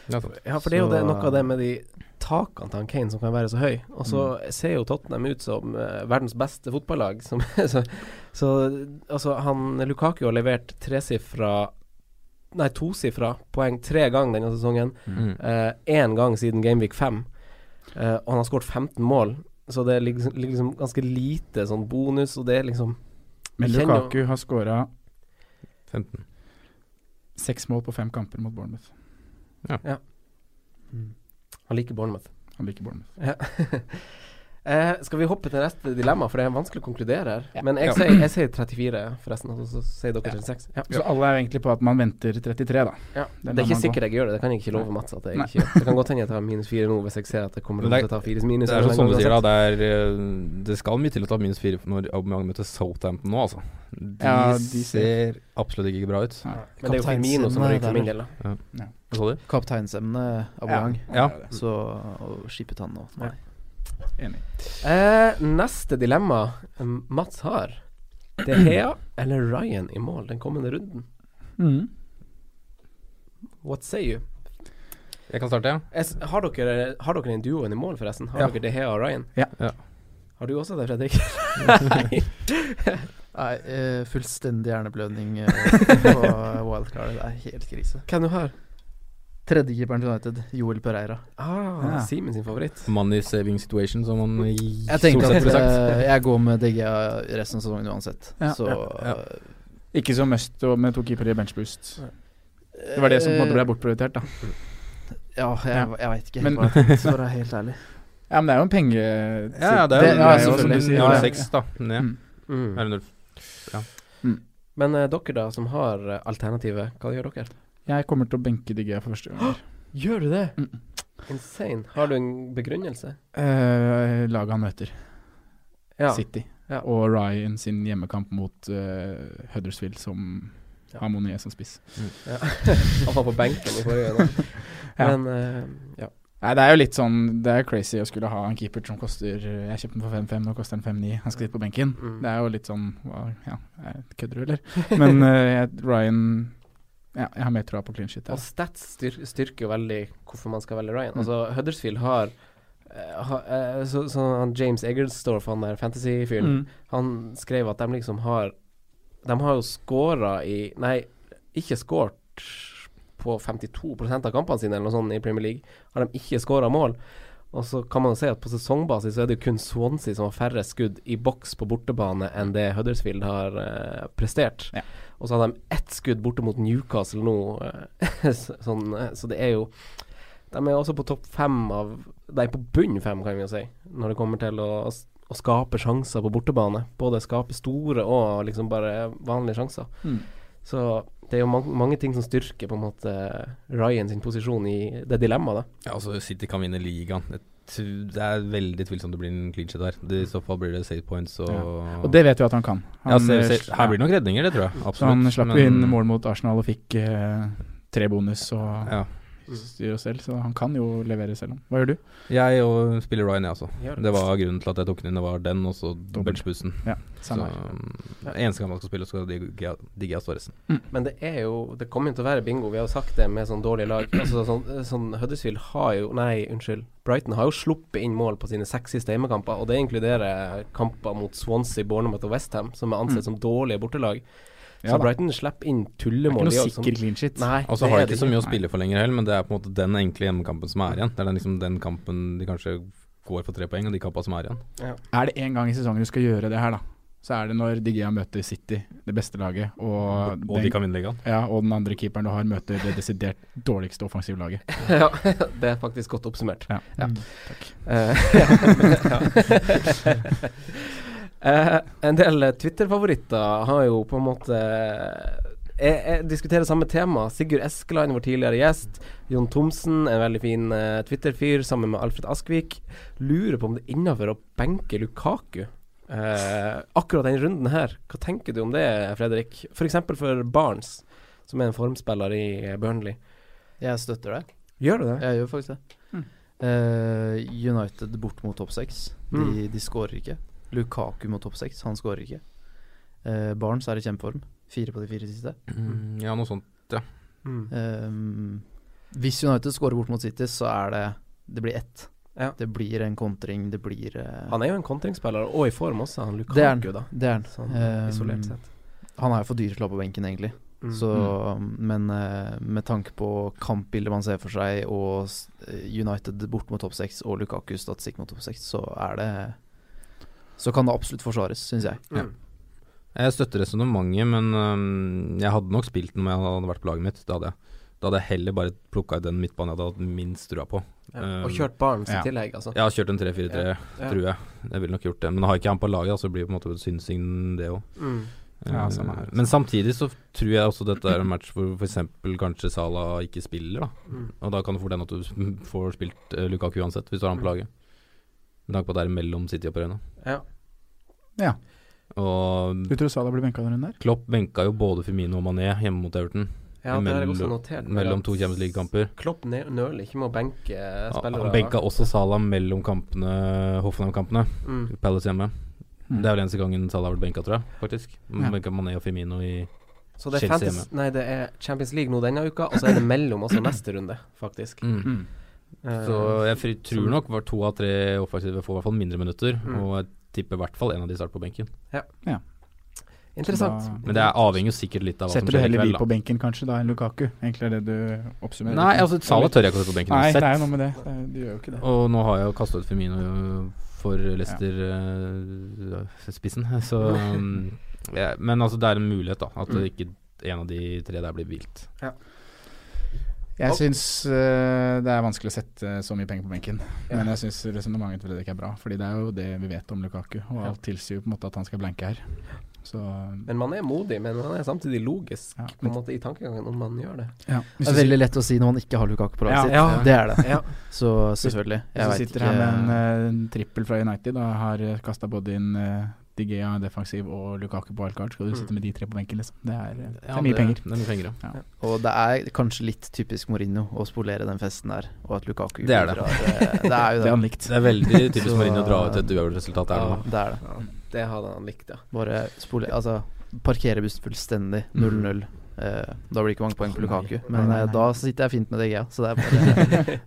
C: Ja, sant.
B: Ja, for det er jo
D: Så-
B: det, noe av det med de takene til han Kane som kan være så høy. Og så ser jo Tottenham ut som eh, verdens beste fotballag. [LAUGHS] Som, så, så altså, han Lukaku har levert tresifra Nei, tosifra poeng tre ganger denne sesongen.
C: Mm.
B: Eh, Én gang siden Gameweek 5. Eh, og han har skåret 15 mål, så det ligger liksom, ligger liksom ganske lite sånn bonus, og det er liksom
E: Men
B: Jeg kjenner jo-
E: Lukaku har skåra
C: 15.
E: seks mål på fem kamper mot Bournemouth.
B: Han liker Bournemouth.
E: Han liker Bournemouth.
B: [LAUGHS] Eh, skal vi hoppe til neste dilemma, for det er vanskelig å konkludere her. Men jeg,
C: Ja.
B: sier, jeg sier 34, forresten, og så sier dere 36. Ja.
E: Så alle er egentlig på at man venter 33, da.
B: Ja.
E: Den
B: Det er ikke
E: lar man gå.
B: sikkert jeg gjør det, det kan jeg ikke love Mats at jeg
E: Nei.
B: ikke gjør. Det kan godt hende jeg tar minus 4 nå, hvis jeg ser at jeg kommer
C: Men det
B: til å
C: er-
B: ta 4 minus.
C: Det er sånn som du
B: uansett.
C: sier, da. Det, er, eh, det skal mye til å ta minus fire når Aubameyang møter Southampton nå, altså. De,
E: Ja, de ser-
C: ser absolutt ikke bra ut.
E: Nei.
B: Men det er jo Firmino som ryker for min del, da.
C: Hva sa du?
D: Kapteinsemne Aubameyang.
C: Ja.
D: Så og skippet han nå. Nei.
E: Enig.
B: Eh, neste dilemma um, Mats har. Det er Hea eller Ryan i mål den kommende runden.
E: Mm.
B: What say you?
C: Jeg kan starte, ja.
B: Jeg s- Har dere, har dere en duoen i mål, forresten? Har
C: Ja.
B: dere det Hea og Ryan?
E: Ja.
C: Ja.
B: Har du også det, Fredrik? [LAUGHS] Nei.
D: Nei, eh, fullstendig hjerneblødning eh, på wildcard. Det er helt krise.
B: Hvem du har?
D: Tredjekeeperen til United, Joel Pereira.
B: Ah,
E: Ja.
B: Simen sin favoritt.
C: Money saving situation, som man i-
D: Jeg
C: stort
D: tenkte
C: sett
D: at
C: ville sagt.
D: eh, jeg går med DGA resten av sesongen uansett.
E: Ja.
D: Så eh,
C: Ja.
E: Ikke som mest og med to keepere i benchboost. Det var det som på en
D: Eh,
E: måte ble bortprioritert, da.
D: Ja, jeg, jeg veit ikke
E: Men-
D: helt hva
E: [LAUGHS]
D: jeg tenkte, for å være helt ærlig.
E: Ja, men det er jo en penge...
C: Ja, ja, det er jo
D: Det- ja,
C: det er jo som du
D: selvfølgelig.
C: sier,
D: Ja, ja.
C: 06, da. Ned.
E: Mm.
B: Mm.
C: Eller 0.
B: Men eh, dere da, som har eh, alternativet, hva gjør dere?
E: Jeg kommer til å benke De Gea for første gang. i år.
B: Gjør du det?
E: Mm.
B: Insane. Har du en begrunnelse?
E: Eh, Laget han møter,
B: Ja.
E: City,
B: Ja.
E: og Ryan sin hjemmekamp mot eh, Huddersfield, som
B: Ja.
E: har Monier som spiss.
B: ja. [LAUGHS] Han var på benken i forrige gang.
E: Ja.
B: Men eh, ja.
E: Nei, det er jo litt sånn Det er crazy å skulle ha en keeper som koster Jeg kjøpte den for 5-5, nå koster den 5-9. Han skal sitte på benken.
B: Mm.
E: Det er jo litt sånn hva- Ja, jeg kødder du, eller?
C: [LAUGHS]
E: Men eh, jeg, Ryan ja, Jeg har mer troa på clean shit.
B: Og Stats styr, styrker jo veldig hvorfor man skal velge Ryan. Altså, Huddersfield har eh, ha, eh, så, så han James Eggerstorff, han der
E: Mm.
B: fantasy-fyren, han skrev at de liksom har De har jo scora i Nei, ikke scoret på 52 av kampene sine eller noe sånt i Premier League. Har de ikke scora mål. Og så kan man jo se at på sesongbasis så er det jo kun Swansea som har færre skudd i boks på bortebane enn det Huddersfield har eh, prestert.
E: Ja.
B: Og så har de ett skudd borte mot Newcastle nå, eh, [LAUGHS] sånn, eh, så det er jo De er jo også på topp fem av De er på bunn fem, kan vi jo si, når det kommer til å, å skape sjanser på bortebane. Både skape store og liksom bare vanlige sjanser.
E: Mm.
B: Så det er jo mange, mange ting som styrker på en måte Ryan sin posisjon i det dilemmaet, da.
C: Ja, altså City kan vinne ligaen. Jeg tr- Det er veldig tvilsomt det blir en clean sheet der. Det, I så fall blir det save points og
E: Og det vet vi at han kan. Han,
C: ja, save,
E: eh,
C: save. Her blir det nok redninger, det tror jeg. Absolutt.
E: så han slapp jo
C: men-
E: inn mål mot Arsenal og fikk eh, tre bonus og
C: Ja.
E: styr og selv, så han kan jo levere selv om. Hva gjør du?
C: Jeg og spiller Ryan, jeg også.
B: Gjør det.
C: Det var grunnen til at jeg tok den inn. Det var den, og så
E: Dobbelt.
C: benchbussen. Så
E: Samme her.
C: um, eneste kamp han skal spille, så skal Digia Digia stå resten.
B: Men det er jo Det kommer jo til å være bingo. Vi har jo sagt det med sånn dårlige lag. Altså sånn, sånn Huddersfield har jo Nei, unnskyld. Brighton har jo sluppet inn mål på sine seks siste hjemmekamper, og det inkluderer kamper mot Swansea, Bournemouth og Westham, som er ansett som dårlige bortelag. Så
E: Mm. Ja da.
B: Brighton slipper inn
E: Det er ikke
B: tullemål.
E: noe
B: de også, som-
E: sikker Altså clean shit.
B: Nei,
C: Og så har de
B: det
C: ikke så mye å spille for lenger heller, men det er på en måte den enkle hjemmekampen som er igjen. Det er den, liksom, den kampen de kanskje går for tre poeng, og de kampene som er igjen.
E: Er det én gang i sesongen du skal gjøre det her, da, så er det når Digea møter City, det beste laget, og,
C: Og
E: den,
C: de kan vinne ligaen.
E: ja, og den andre keeperen du har, møter det desidert dårligste offensive laget.
B: [LAUGHS] ja, det er faktisk godt oppsummert.
E: Ja.
B: Ja.
E: Mm.
B: Eh, [LAUGHS] Eh, en del eh, Twitter-favoritter har jo på en måte jeg, jeg diskuterer samme tema. Sigurd Eskeland, vår tidligere gjest. Jon Thomsen, en veldig fin eh, Twitter-fyr, sammen med Alfred Askvik. Lurer på om det er innafor å benke Lukaku. Eh, akkurat den runden her, hva tenker du om det, Fredrik? F.eks. for, for Barnes, som er en formspiller i eh, Burnley.
D: Jeg støtter det.
B: Gjør du det?
D: Jeg gjør faktisk det.
E: Mm.
D: Eh, United bort mot topp seks. De,
B: Mm.
D: de skårer ikke. Lukaku mot topp seks, han skårer ikke. Eh, Barnes er i kjempeform. Fire på de fire siste.
B: Mm.
C: Ja, noe sånt.
B: Mm.
D: Ehm, hvis United scorer bort mot City, så er det Det blir ett.
B: Ja.
D: Det blir en kontring, det blir eh,
B: Han er jo en kontringsspiller, og i form også, han
D: Det er han.
B: Lukaku, da.
D: Det er han.
B: Sånn
D: Ehm,
B: isolert sett.
D: Han er jo for dyr til å ha på benken, egentlig.
B: Mm.
D: Så, Men eh, med tanke på kampbildet man ser for seg, og s- eh, United bort mot topp seks og Lukaku statistikk mot topp seks, så er det Så kan det absolutt forsvares, syns jeg.
B: Mm.
C: Jeg støtter resonnementet, men øhm, jeg hadde nok spilt den om jeg hadde vært på laget mitt. Da hadde jeg, da hadde jeg heller bare plukka ut den midtbanen jeg hadde hatt minst trua på.
B: Ja.
C: Um,
B: Og kjørt Barnes
E: ja.
B: i tillegg, altså.
C: Jeg har kjørt en 3-4-3,
B: Ja.
C: tror jeg. Jeg ville nok gjort det. Men har jeg ikke han på laget, da, så blir det på en måte synsing, det òg.
B: Mm.
E: Ja, samme her.
C: Men samtidig så tror jeg også dette er en match hvor f.eks. kanskje Salah ikke spiller, da.
B: Mm.
C: Og da kan det fort hende at du [LAUGHS] får spilt eh, Lukaku uansett, hvis du har han på
B: Mm.
C: laget. Med tanke på at det er mellom City og Perena.
B: Ja.
E: Ja.
C: Og
E: Du tror Salah blir benka den runden der?
C: Klopp benka jo både Firmino og Mané hjemme mot Everton.
B: ja, det har jeg også
C: Mellom-
B: notert. meg
C: Mellom
B: at
C: to Champions League-kamper.
B: Klopp ne- nøler ikke med å benke eh, spillere.
C: Han benka også Salah mellom kampene, Hoffenheim-kampene.
B: Mm.
C: Palace hjemme.
E: Mm.
C: Det er vel eneste gangen Salah har vært benka, tror jeg. faktisk
E: Ja.
C: Benka Mané og Firmino i
B: Så det er,
C: Chelsea
B: fantasy, nei, det er Champions League nå denne uka, og så er det mellom også neste runde, faktisk.
C: mm.
E: Mm.
B: Eh,
C: Så jeg fri- tror nok var to av tre offensive får i hvert fall mindre minutter.
B: Mm.
C: Og jeg tipper i hvert fall en av de starter på benken.
E: Mm.
B: interessant.
E: Da-
C: Men det er- avhenger jo sikkert litt av hva
E: Setter du
C: som skjer i
E: heller
C: kveld.
E: de på benken kanskje da enn Lukaku? Egentlig er det du
C: da.
E: oppsummerer.
C: Nei,
E: litt.
C: altså Salah tør jeg ikke å sette på benken
E: Nei, det
C: uansett.
E: er jo noe med det. det er, du gjør jo ikke det.
C: Og nå har jeg jo kasta ut Femino for Leicester-spissen, [LAUGHS] så um, ja, Men altså, det er en mulighet, da. At
B: Mm.
C: ikke en av de tre der blir vilt.
E: Jeg
B: Og-
E: syns eh, det er vanskelig å sette så mye penger på benken, men jeg syns resonnementet til Fredrik er bra. Fordi det er jo det vi vet om Lukaku, og alt tilsier jo på en måte at han skal blanke her. Så eh,
B: Men man er modig, men man er samtidig logisk
E: Ja.
B: på en måte i tankegangen om man gjør det.
E: ja.
D: Det er veldig lett å si når man ikke har Lukaku på
E: Ja,
D: laget
E: ja.
D: sitt. Det er det.
E: Ja.
D: Så selvfølgelig.
E: Hvis
D: Jeg
E: du
D: vet
E: sitter
D: ikke
E: her med en, eh, en trippel fra United og har kasta både inn eh, Di Gea defensiv og Lukaku på wildcard, skal du sitte med de tre på benken, liksom. Det er, eh, det
C: Ja,
E: er mye penger.
C: Det er mye penger, ja.
D: Og det er kanskje litt typisk Mourinho å spolere den festen der, og at Lukaku
C: Det er det.
D: bidrar, eh, Det er jo
E: Det
D: det.
E: er han likt.
C: Det er veldig typisk
D: Så-
C: Mourinho å dra ut et uavgjort-resultat der nå.
D: Det er det.
B: Det hadde han likt, ja.
D: Bare spole, altså, parkere bussen fullstendig. 0-0. Eh, da blir det ikke mange poeng på
E: Nei.
D: Lukaku, men
E: Nei, nei,
D: eh,
E: nei.
D: da sitter jeg fint med DGA, så det er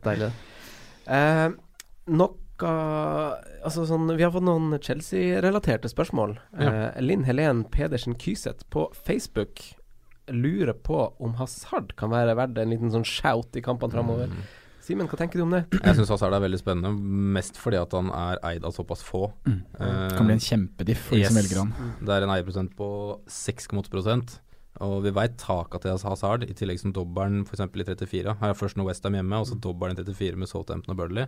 D: bare deilig.
B: Eh, noe Altså sånn Vi har fått noen Chelsea-relaterte spørsmål.
C: Ja.
B: Eh, Linn Helen Pedersen Kyseth på Facebook lurer på om Hazard kan være verdt en liten sånn shout i kampene
C: Mm.
B: framover. Simen, hva tenker du om det?
C: Jeg syns Hazard er veldig spennende, mest fordi at han er eid av såpass få.
E: Mm.
C: Eh,
E: Det kan bli en kjempediff for de som
C: yes.
E: velger han.
C: Det er en eierprosent på 6,8 og vi veit taket til Hazard, i tillegg som dobbelen f.eks. i 34. Her er først nå Westham hjemme, og så
B: Mm.
C: dobbelen i 34 med Southampton og Burnley.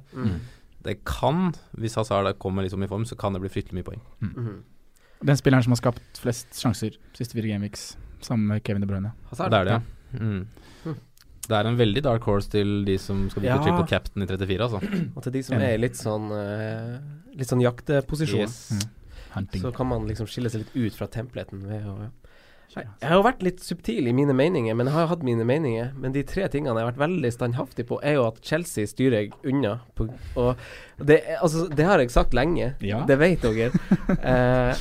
C: Det kan, hvis Hazard kommer liksom i form, så kan det bli fryktelig mye poeng.
B: Mhm.
E: Mm. Den spilleren som har skapt flest sjanser siste fire gameweeks, sammen med Kevin De Bruyne.
B: Hazard? Hm.
C: Det er det, ja. Mm. Det er en veldig dark horse til de som skal
B: Ja.
C: bytte triple captain i 34, altså.
B: Og til de som er i litt sånn eh, Litt sånn jakteposisjon,
E: Mm. Hunting.
B: så kan man liksom skille seg litt ut fra templeten ved å Nei, Jeg har jo vært litt subtil i mine meninger, men jeg har jo hatt mine meninger. Men de tre tingene jeg har vært veldig standhaftig på, er jo at Chelsea styrer jeg unna. På, og det, er- altså, det har jeg sagt lenge,
E: Ja.
B: det vet
E: [LAUGHS]
B: dere. Eh,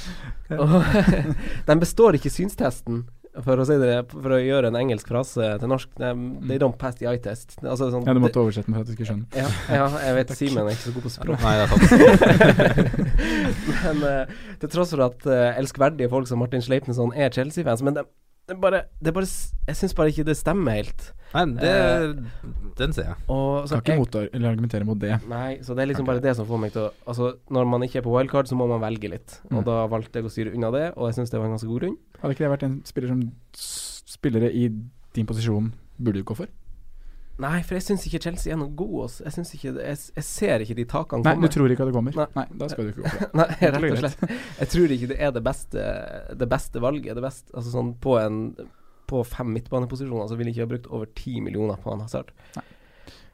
B: og [LAUGHS] de består ikke synstesten, for å si det for å gjøre en engelsk frase til norsk. De, they don't pass the eye test. Altså, sånn,
E: Mm. Ja, du måtte oversette den for at du skulle skjønne.
B: ja, ja, jeg
E: [LAUGHS]
B: vet Simen er ikke så god på språk.
C: Nei, det er sant.
B: Men eh, til tross for at eh, elskverdige folk som Martin Sleipnesson er Chelsea-fans Men det, det bare, det bare s- Jeg syns bare ikke det stemmer helt.
C: Nei, det,
B: Eh,
C: den ser jeg.
B: Og så
E: Skal ikke
B: jeg-
E: motar- eller argumentere mot det.
B: Nei, så det er liksom bare det som får meg til å Altså, når man ikke er på wildcard, så må man velge litt. Og
E: Mm.
B: da valgte jeg å styre unna det, og jeg syns det var en ganske god grunn.
E: Hadde ikke det vært en spiller som s- spillere i din posisjon burde du gå for?
B: Nei, for jeg syns ikke Chelsea er noe god, ass. Jeg syns ikke det- Jeg, s- jeg ser ikke de takene
E: Nei,
B: komme.
E: du tror ikke at det kommer?
B: Nei.
E: da skal du ikke gå for [LAUGHS]
B: [LAUGHS]
E: det.
B: Nei,
E: Enkelt
B: rett og
E: og
B: slett. Jeg tror ikke det er det beste, det beste valget. Det beste, altså sånn på, en, på fem midtbaneposisjoner så ville jeg ikke ha brukt over ti millioner på en Hazard.
E: Nei.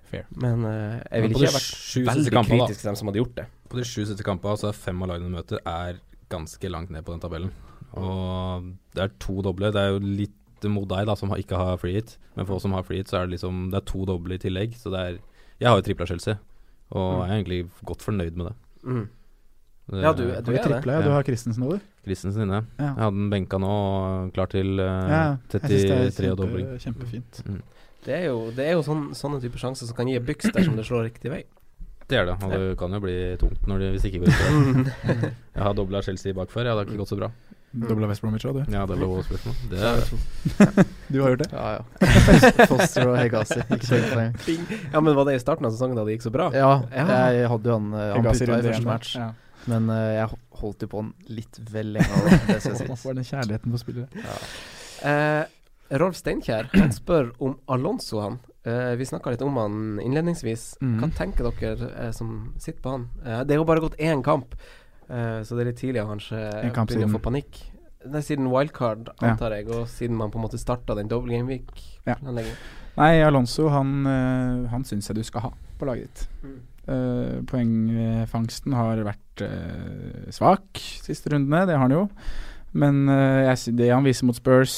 E: Fair.
B: Men eh, jeg
C: Men
B: ville
C: på
B: ikke
C: de
B: ha vært
C: sju siste
B: veldig
C: kampene, da.
B: kritisk til dem som hadde gjort det.
C: På de sju siste kampene, så er fem av lagene de møter, er ganske langt ned på den tabellen. Og det er to doble. Det er jo litt mot deg, da, som har- ikke har free hit. Men for oss som har free hit, så er det liksom Det er to doble i tillegg. Så det er Jeg har jo tripla Chelsea, og jeg er egentlig godt fornøyd med det.
B: Mm.
C: det Eh,
B: Ja, du,
E: Du
B: du er det.
E: tripla, ja. Du har Christensen nå, du.
C: Christensen inne.
E: Ja.
C: Jeg hadde den benka nå, og klar til eh,
E: jeg synes det er
C: 33 og dobling.
E: kjempe- Kjempefint.
B: Det er jo, det er jo sånn, sånne typer sjanser som kan gi byks dersom det slår riktig vei.
C: Det er det, og det kan jo bli tungt når det, hvis det ikke går ut.
B: [LAUGHS] Mm.
C: Jeg har dobla Chelsea bakfor, ja, det har ikke gått så bra.
E: Mm. Dobla West Bromwich òg, du.
C: Ja, det er lov å spørre om. Det er
E: Du har gjort det?
D: Ja, ja. Foster og [LAUGHS] Hegasi. Ikke tenk på det
B: [LAUGHS]
D: engang.
B: Bing. Ja, men var det i starten av sesongen da det gikk så bra?
D: Ja,
B: Ja.
D: jeg hadde jo han eh, Han
E: Hegazi
D: putta i
E: runde én
D: første
E: der.
D: match,
E: Ja.
D: men eh, jeg holdt jo på han litt vel lenge. da. Det
E: [LAUGHS]
D: skal
E: Hva
D: sies.
E: var den kjærligheten for spillere?
B: Eh, Rolf Steinkjer han spør om Alonso, han. Eh, vi snakka litt om han innledningsvis.
E: Mhm.
B: Hva tenker dere eh, som sitter på han? Eh, det er jo bare gått én kamp, eh, så det er litt tidlig å kanskje
E: En kamp
B: begynne å
E: siden.
B: få panikk. Nei, siden wildcard,
E: Ja.
B: antar jeg, og siden man på en måte starta den double game
E: Ja.
B: week-planleggingen.
E: Nei, Alonso, han, øh, han syns jeg du skal ha på laget ditt.
B: Mm.
E: Eh, poengfangsten har vært eh, svak siste rundene, det har han jo. Men eh, jeg, sy- det han viser mot Spurs,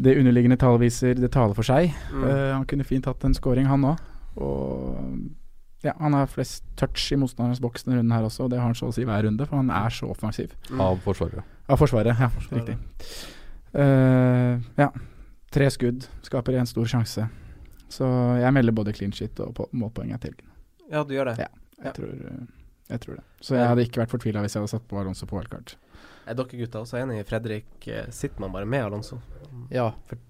E: det underliggende tallet viser, det taler for seg.
B: Mm.
E: Eh, han kunne fint hatt en scoring, han òg. Og ja, han har flest touch i motstanderens boks denne runden her også, og det har han så å si hver runde, for han er så offensiv.
B: Mm.
C: av forsvarere.
E: Av Forsvaret, ja.
B: Forsvaret.
E: Riktig. Eh, ja. Tre skudd skaper en stor sjanse. Så jeg melder både clean shit og på- målpoeng til.
B: Ja, du gjør det.
E: Ja. Jeg,
B: Ja.
E: tror, eh, jeg tror det. Så jeg hadde ikke vært fortvila hvis jeg hadde satt på Alonso på wildcard.
B: Er dere gutter også enige? Fredrik, eh, sitter man bare med Alonso?
D: Ja,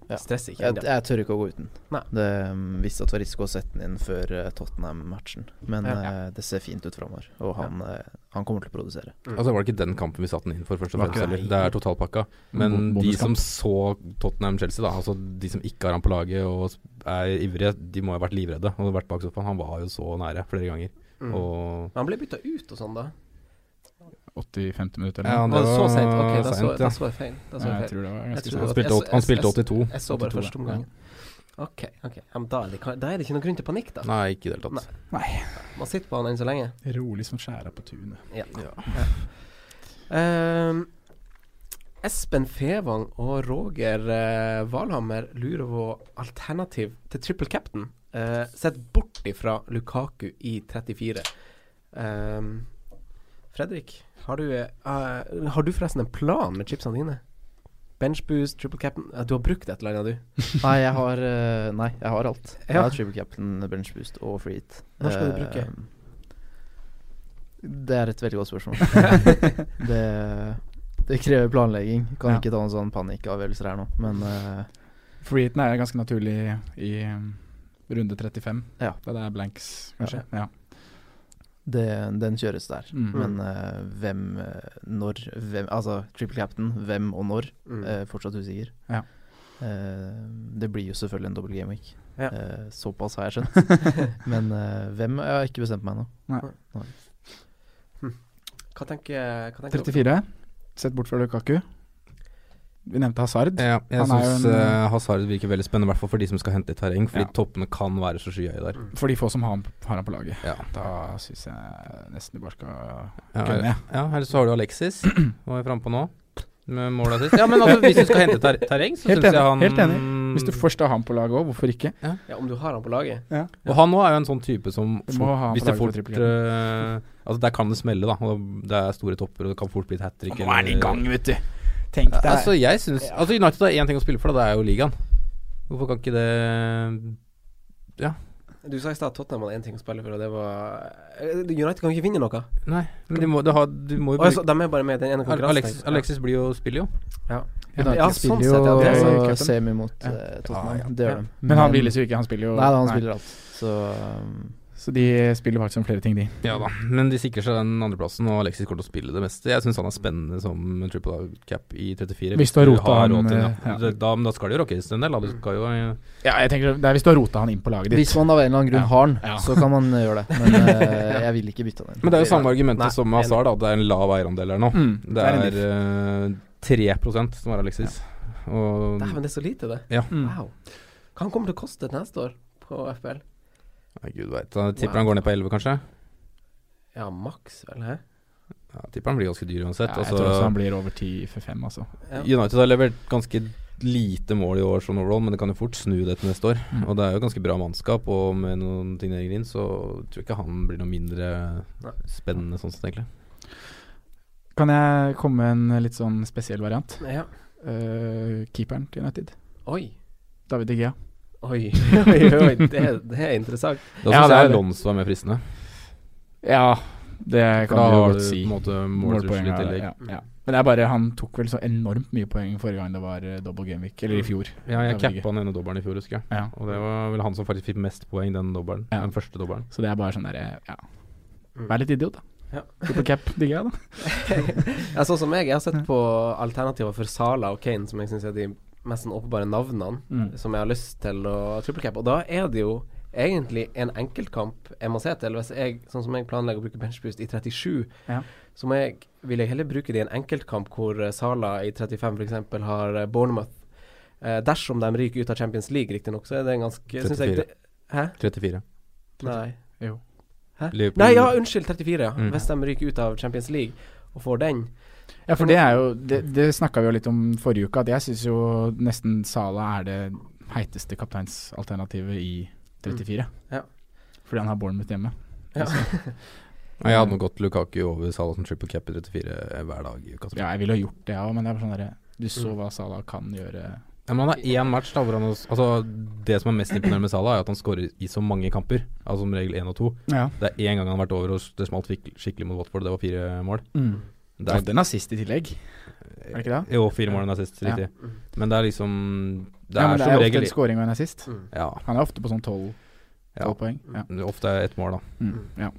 D: Ja.
B: Stress ikke
D: jeg,
B: ennå.
D: jeg tør ikke å gå uten.
B: Nei.
D: Det um, visste at det var risiko å sette den inn før eh, Tottenham-matchen, men
B: Ja.
D: eh, det ser fint ut framover, og han, eh, han kommer til å produsere.
B: Mm.
C: Altså var det ikke den kampen vi satte den inn for, først og
E: Var ikke
C: fremst.
E: Mm. det.
C: Eller? Det er totalpakka. Men
E: Bon-
C: de
E: bonuskamp.
C: som så Tottenham-Chelsea, da, altså de som ikke har han på laget og s- er ivrige, de må ha vært livredde og vært bak sofaen. Han var jo så nære flere ganger.
B: Mm.
C: Og
B: Men Han ble bytta ut og sånn, da.
E: 80-50 minutter.
C: Ja,
B: Var
E: Eller?
C: det
B: det så
C: var
B: seint? Ok, da så,
C: sent, ja.
B: da så jeg feil. Da så
E: Ja,
B: altså, jeg
E: jeg
B: feil.
E: tror det var
B: Jeg
E: ganske sånn.
B: tror
E: sant.
C: Han
B: det
C: spilte, åt- han spilte 82.
B: Jeg så bare
E: 82,
B: første
E: ja.
B: omgang. Ok, ok. Ja, men da, er det, ka- da er det ikke noen grunn til panikk, da.
C: Nei, ikke i det hele
B: Nei.
C: tatt.
B: Man sitter på han enn så lenge.
E: Rolig som skjæra på tunet.
B: Ja. Ehm, Espen Fevang og Roger eh, Valhammer lurer på alternativ til triple captain. eh, sett bort ifra Lukaku i 34. Ehm, Fredrik, har du, eh, eh, har du forresten en plan med chipsene dine? Benchboost, triple captain eh, Du har brukt et eller annet, du.
D: Nei, jeg har eh, Nei, jeg har alt. Jeg
B: Ja.
D: har triple captain, bench boost og free hit.
B: Når skal du
D: Eh,
B: bruke?
D: Det er et veldig
B: [LAUGHS]
D: godt spørsmål. [LAUGHS] det, det krever planlegging. Kan
E: Ja.
D: ikke ta en sånn panikkavgjørelse her nå, men eh,
E: Freeheaten er ganske naturlig i um, runde 35.
D: Ja.
E: Da det er blanks, kanskje. Ja.
D: det, den kjøres der.
E: Mm.
D: Men eh, hvem, eh, når hvem, Altså triple captain, hvem og når?
B: Mm.
D: Eh, fortsatt usikker.
E: Ja.
D: Eh, det blir jo selvfølgelig en dobbel game week.
B: Ja.
D: Eh, såpass har jeg
B: [LAUGHS]
D: skjønt. Men eh, hvem Jeg har ikke bestemt meg ennå.
B: Hva tenker, hva tenker
E: 34. Sett bort fra Lukaku. Vi nevnte Hazard.
C: Ja, jeg
E: Han er jo
C: syns
E: en-
C: eh, Hazard virker veldig spennende, i hvert fall for de som skal hente litt terreng, fordi
E: Ja.
C: toppene kan være så skyhøye der.
E: For de få som har, han- har han på laget.
C: Ja.
E: Da syns jeg nesten de bare skal
C: Ja,
E: Kunne jeg.
C: ja, eller så har du
E: [CLEARS THROAT]
C: Alexis, var jeg framme på nå, med målet sist. Ja, men altså, hvis du skal hente ter terreng, så
E: Helt
C: syns jeg
E: enig,
C: han
E: helt Hvis
C: Mm.
E: du først har han på laget òg, hvorfor ikke?
B: du? Ja, om du har han på laget?
C: Og han òg er jo en sånn type som
E: Du må
C: fort,
E: ha han på
C: Hvis
E: laget
C: det
E: for
C: fort eh, Altså, der kan det smelle, da. Og det er store topper, og det kan fort bli et hat trick.
E: vet du! Tenk deg
C: Altså, jeg synes, altså, United har én ting å spille for, da. Det er jo ligaen. Hvorfor kan ikke det
B: Du sa i stad at Tottenham hadde én ting å spille for, og det var eh, United kan jo ikke vinne noe.
C: Nei, men de må, de har, de må jo
B: Og altså, de er bare med i den ene
C: bruke
B: konkurransen.
C: Alexis, Alexis blir jo spiller jo.
B: Ja, ja, sånn
D: spiller
B: sett, ja, det er
E: jo
D: jo
E: cupen.
D: semi mot
E: Ja.
D: eh, Tottenham.
C: Ja, ja.
D: Det gjør
B: Ja.
D: de.
E: Men han hviles jo ikke, han spiller jo
D: Nei, da, han spiller alt. Så um,
E: Så de spiller faktisk om flere ting, de.
C: Ja da, men de sikrer seg den andreplassen, og Alexis kommer til å spille det meste. Jeg syns han er spennende som triple cap i 34.
E: Hvis du har rota han,
C: råd til det,
E: eh, ja.
C: Det- Da, men da skal det jo rockes en del, da. Du skal jo eh,
E: Ja, jeg tenker Det er hvis du har rota han inn på laget ditt.
D: Hvis man av en eller annen grunn
E: Ja.
D: har den,
E: Ja.
D: så kan man eh, gjøre det. Men eh, jeg vil ikke bytte den inn.
C: Men det er jo samme argumentet
B: Nei,
C: som med Hazard, da. at Det er en lav eierandel her nå.
E: Mm,
C: Det
E: en
C: er
E: diff.
C: eh, 3 som er Alexis. Og
B: Dæven, det er så lite, det.
E: Mm.
B: Wow. Hva han kommer til å koste til neste år på FBL?
C: Nei, gud veit. Jeg tipper han går ned på 11, kanskje.
B: Ja, maks, vel, hæ?
C: Ja, jeg tipper han blir ganske dyr uansett.
E: Ja, jeg tror også
C: altså,
E: han blir over 10 for 5, altså.
B: Ja.
C: United har levert ganske lite mål i år sånn overall, men det kan jo fort snu det til neste år.
E: Mm.
C: Og det er jo ganske bra mannskap, og med noen signeringer inn, så tror jeg ikke han blir noe mindre
B: Nei.
C: spennende sånn sett, egentlig.
E: Kan jeg komme med en litt sånn spesiell variant?
B: ja.
E: Eh, keeperen til United.
B: Oi.
E: David De Gea.
B: Oi, oi, oi. Det, det er interessant.
C: Da
E: Ja, det er
C: syns jeg
E: det.
C: Alonso er mer fristende.
E: Ja, det
C: For
E: kan
C: da
E: du jo
C: har
E: godt
C: du på
E: si.
C: en måte
E: Målpoeng er
C: måltrussel i
E: det,
C: tillegg.
E: ja, ja. Men det er bare han tok vel så enormt mye poeng forrige gang det var eh, double game week, eller i fjor.
C: Ja, jeg
E: Det er veldig
C: cappa den ene dobbelen i fjor, husker jeg.
E: Ja.
C: Og det var vel han som faktisk fikk mest poeng den dobbelen.
E: Ja.
C: Den første dobbelen.
E: Så det er bare sånn derre ja.
B: Mm.
E: Vær litt idiot, da.
B: Ja.
E: Triple cap, digger jeg, da.
B: Ja, sånn som jeg, jeg har sett på alternativer for Sala og Kane, som jeg syns er de mest sånn åpenbare navnene
E: Mm.
B: som jeg har lyst til å triple cap. Og da er det jo egentlig en enkeltkamp jeg må se til. Hvis jeg, sånn som jeg planlegger å bruke benchboost i 37,
E: Ja.
B: så må jeg, vil jeg heller bruke det i en enkeltkamp hvor eh, Sala i 35 f.eks. har eh, Bournemouth. Eh, dersom de ryker ut av Champions League, riktignok, så er det en ganske synes jeg,
C: 34.
B: det, Hæ?
C: 34.
B: Nei.
E: Jo.
C: Liverpool-
B: Nei, ja, unnskyld, 34, ja.
C: Mm.
B: Hvis de ryker ut av Champions League og får den.
E: Ja, for det er jo Det, det snakka vi jo litt om forrige uke, at jeg syns jo nesten Sala er det heiteste kapteinsalternativet i 34.
C: Mm.
B: Ja.
E: Fordi han har Bournemouth hjemme.
B: Ja.
C: Og Jeg hadde nok gått Lukaku over Salah som triple cap i 34 hver dag i uka. som-
E: Ja, jeg ville ha gjort det, jeg òg, men det er bare sånn derre Du
C: Mm.
E: så hva Sala kan gjøre.
C: Ja, men han har én match da hvor han også, altså, Det som er mest imponerende med Salah, er at han scorer i så mange kamper. Altså Som regel én og to.
E: Ja.
C: Det er én gang han har vært over og det smalt fikk- skikkelig mot Watford, det var fire mål.
E: Mm.
C: Det
E: Du
C: er,
E: hadde en assist i tillegg, er det ikke det?
C: jo, fire mål enn assist,
E: Ja.
C: riktig.
B: Mm.
C: Men det er liksom Det er,
E: ja, men det
C: som
E: er ofte
C: regel
E: en scoring og en assist.
B: Mm.
C: Ja.
E: Han er ofte på sånn 12,
C: Ja.
E: 12 poeng. Ja.
C: Ofte er ett mål, da.
E: Mm. ja.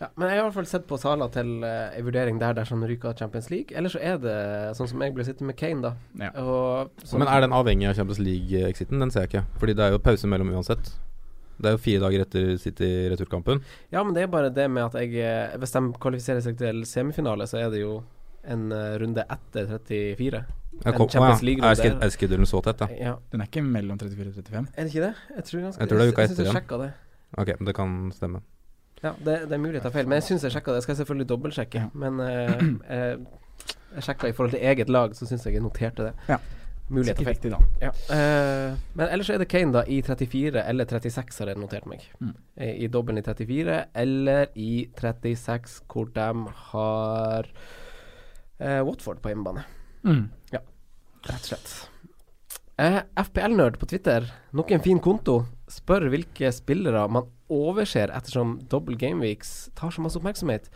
B: Ja, men jeg har i hvert fall sett på Sala til eh, en vurdering der dersom han ryker av Champions League. Eller så er det sånn som jeg ble sittende med Kane, da.
E: Ja.
B: Og, så,
C: Men er den avhengig av Champions League-exiten? Den ser jeg ikke. Fordi det er jo pause mellom uansett. Det er jo fire dager etter City-returkampen.
B: Ja, men det er bare det med at jeg eh, Hvis de kvalifiserer seg til semifinale, så er det jo en eh, runde etter 34.
C: Jeg
B: En
C: kom-
B: Champions
C: Å,
B: League-runde.
C: ja. Er sked- Er schedulen så tett, da?
B: Ja.
E: Den er ikke mellom 34 og 35.
B: Er det ikke det? Jeg tror, ganske,
C: Jeg tror det er uka
B: jeg synes
C: etter
B: jeg
C: igjen.
B: sjekket det.
C: Ok, det kan stemme.
B: Ja, det, det er mulig jeg tar feil, men jeg syns jeg sjekka det. Jeg skal selvfølgelig dobbeltsjekke,
E: Ja.
B: men eh, [CLEARS THROAT] eh, jeg sjekka i forhold til eget lag, så syns jeg jeg noterte det.
E: Ja.
B: Mulig jeg tar feil.
E: Sikkert riktig, da.
B: Ja. eh, men ellers er det Kane, da, i 34 eller 36, har jeg notert meg.
E: Mm.
B: Eh, I dobbelen i 34 eller i 36, hvor de har eh, Watford på hjemmebane,
E: Mm.
B: rett og slett. Eh, FPL-nerd på Twitter, nok en fin konto, spør hvilke spillere man overser ettersom double gameweeks tar så masse oppmerksomhet.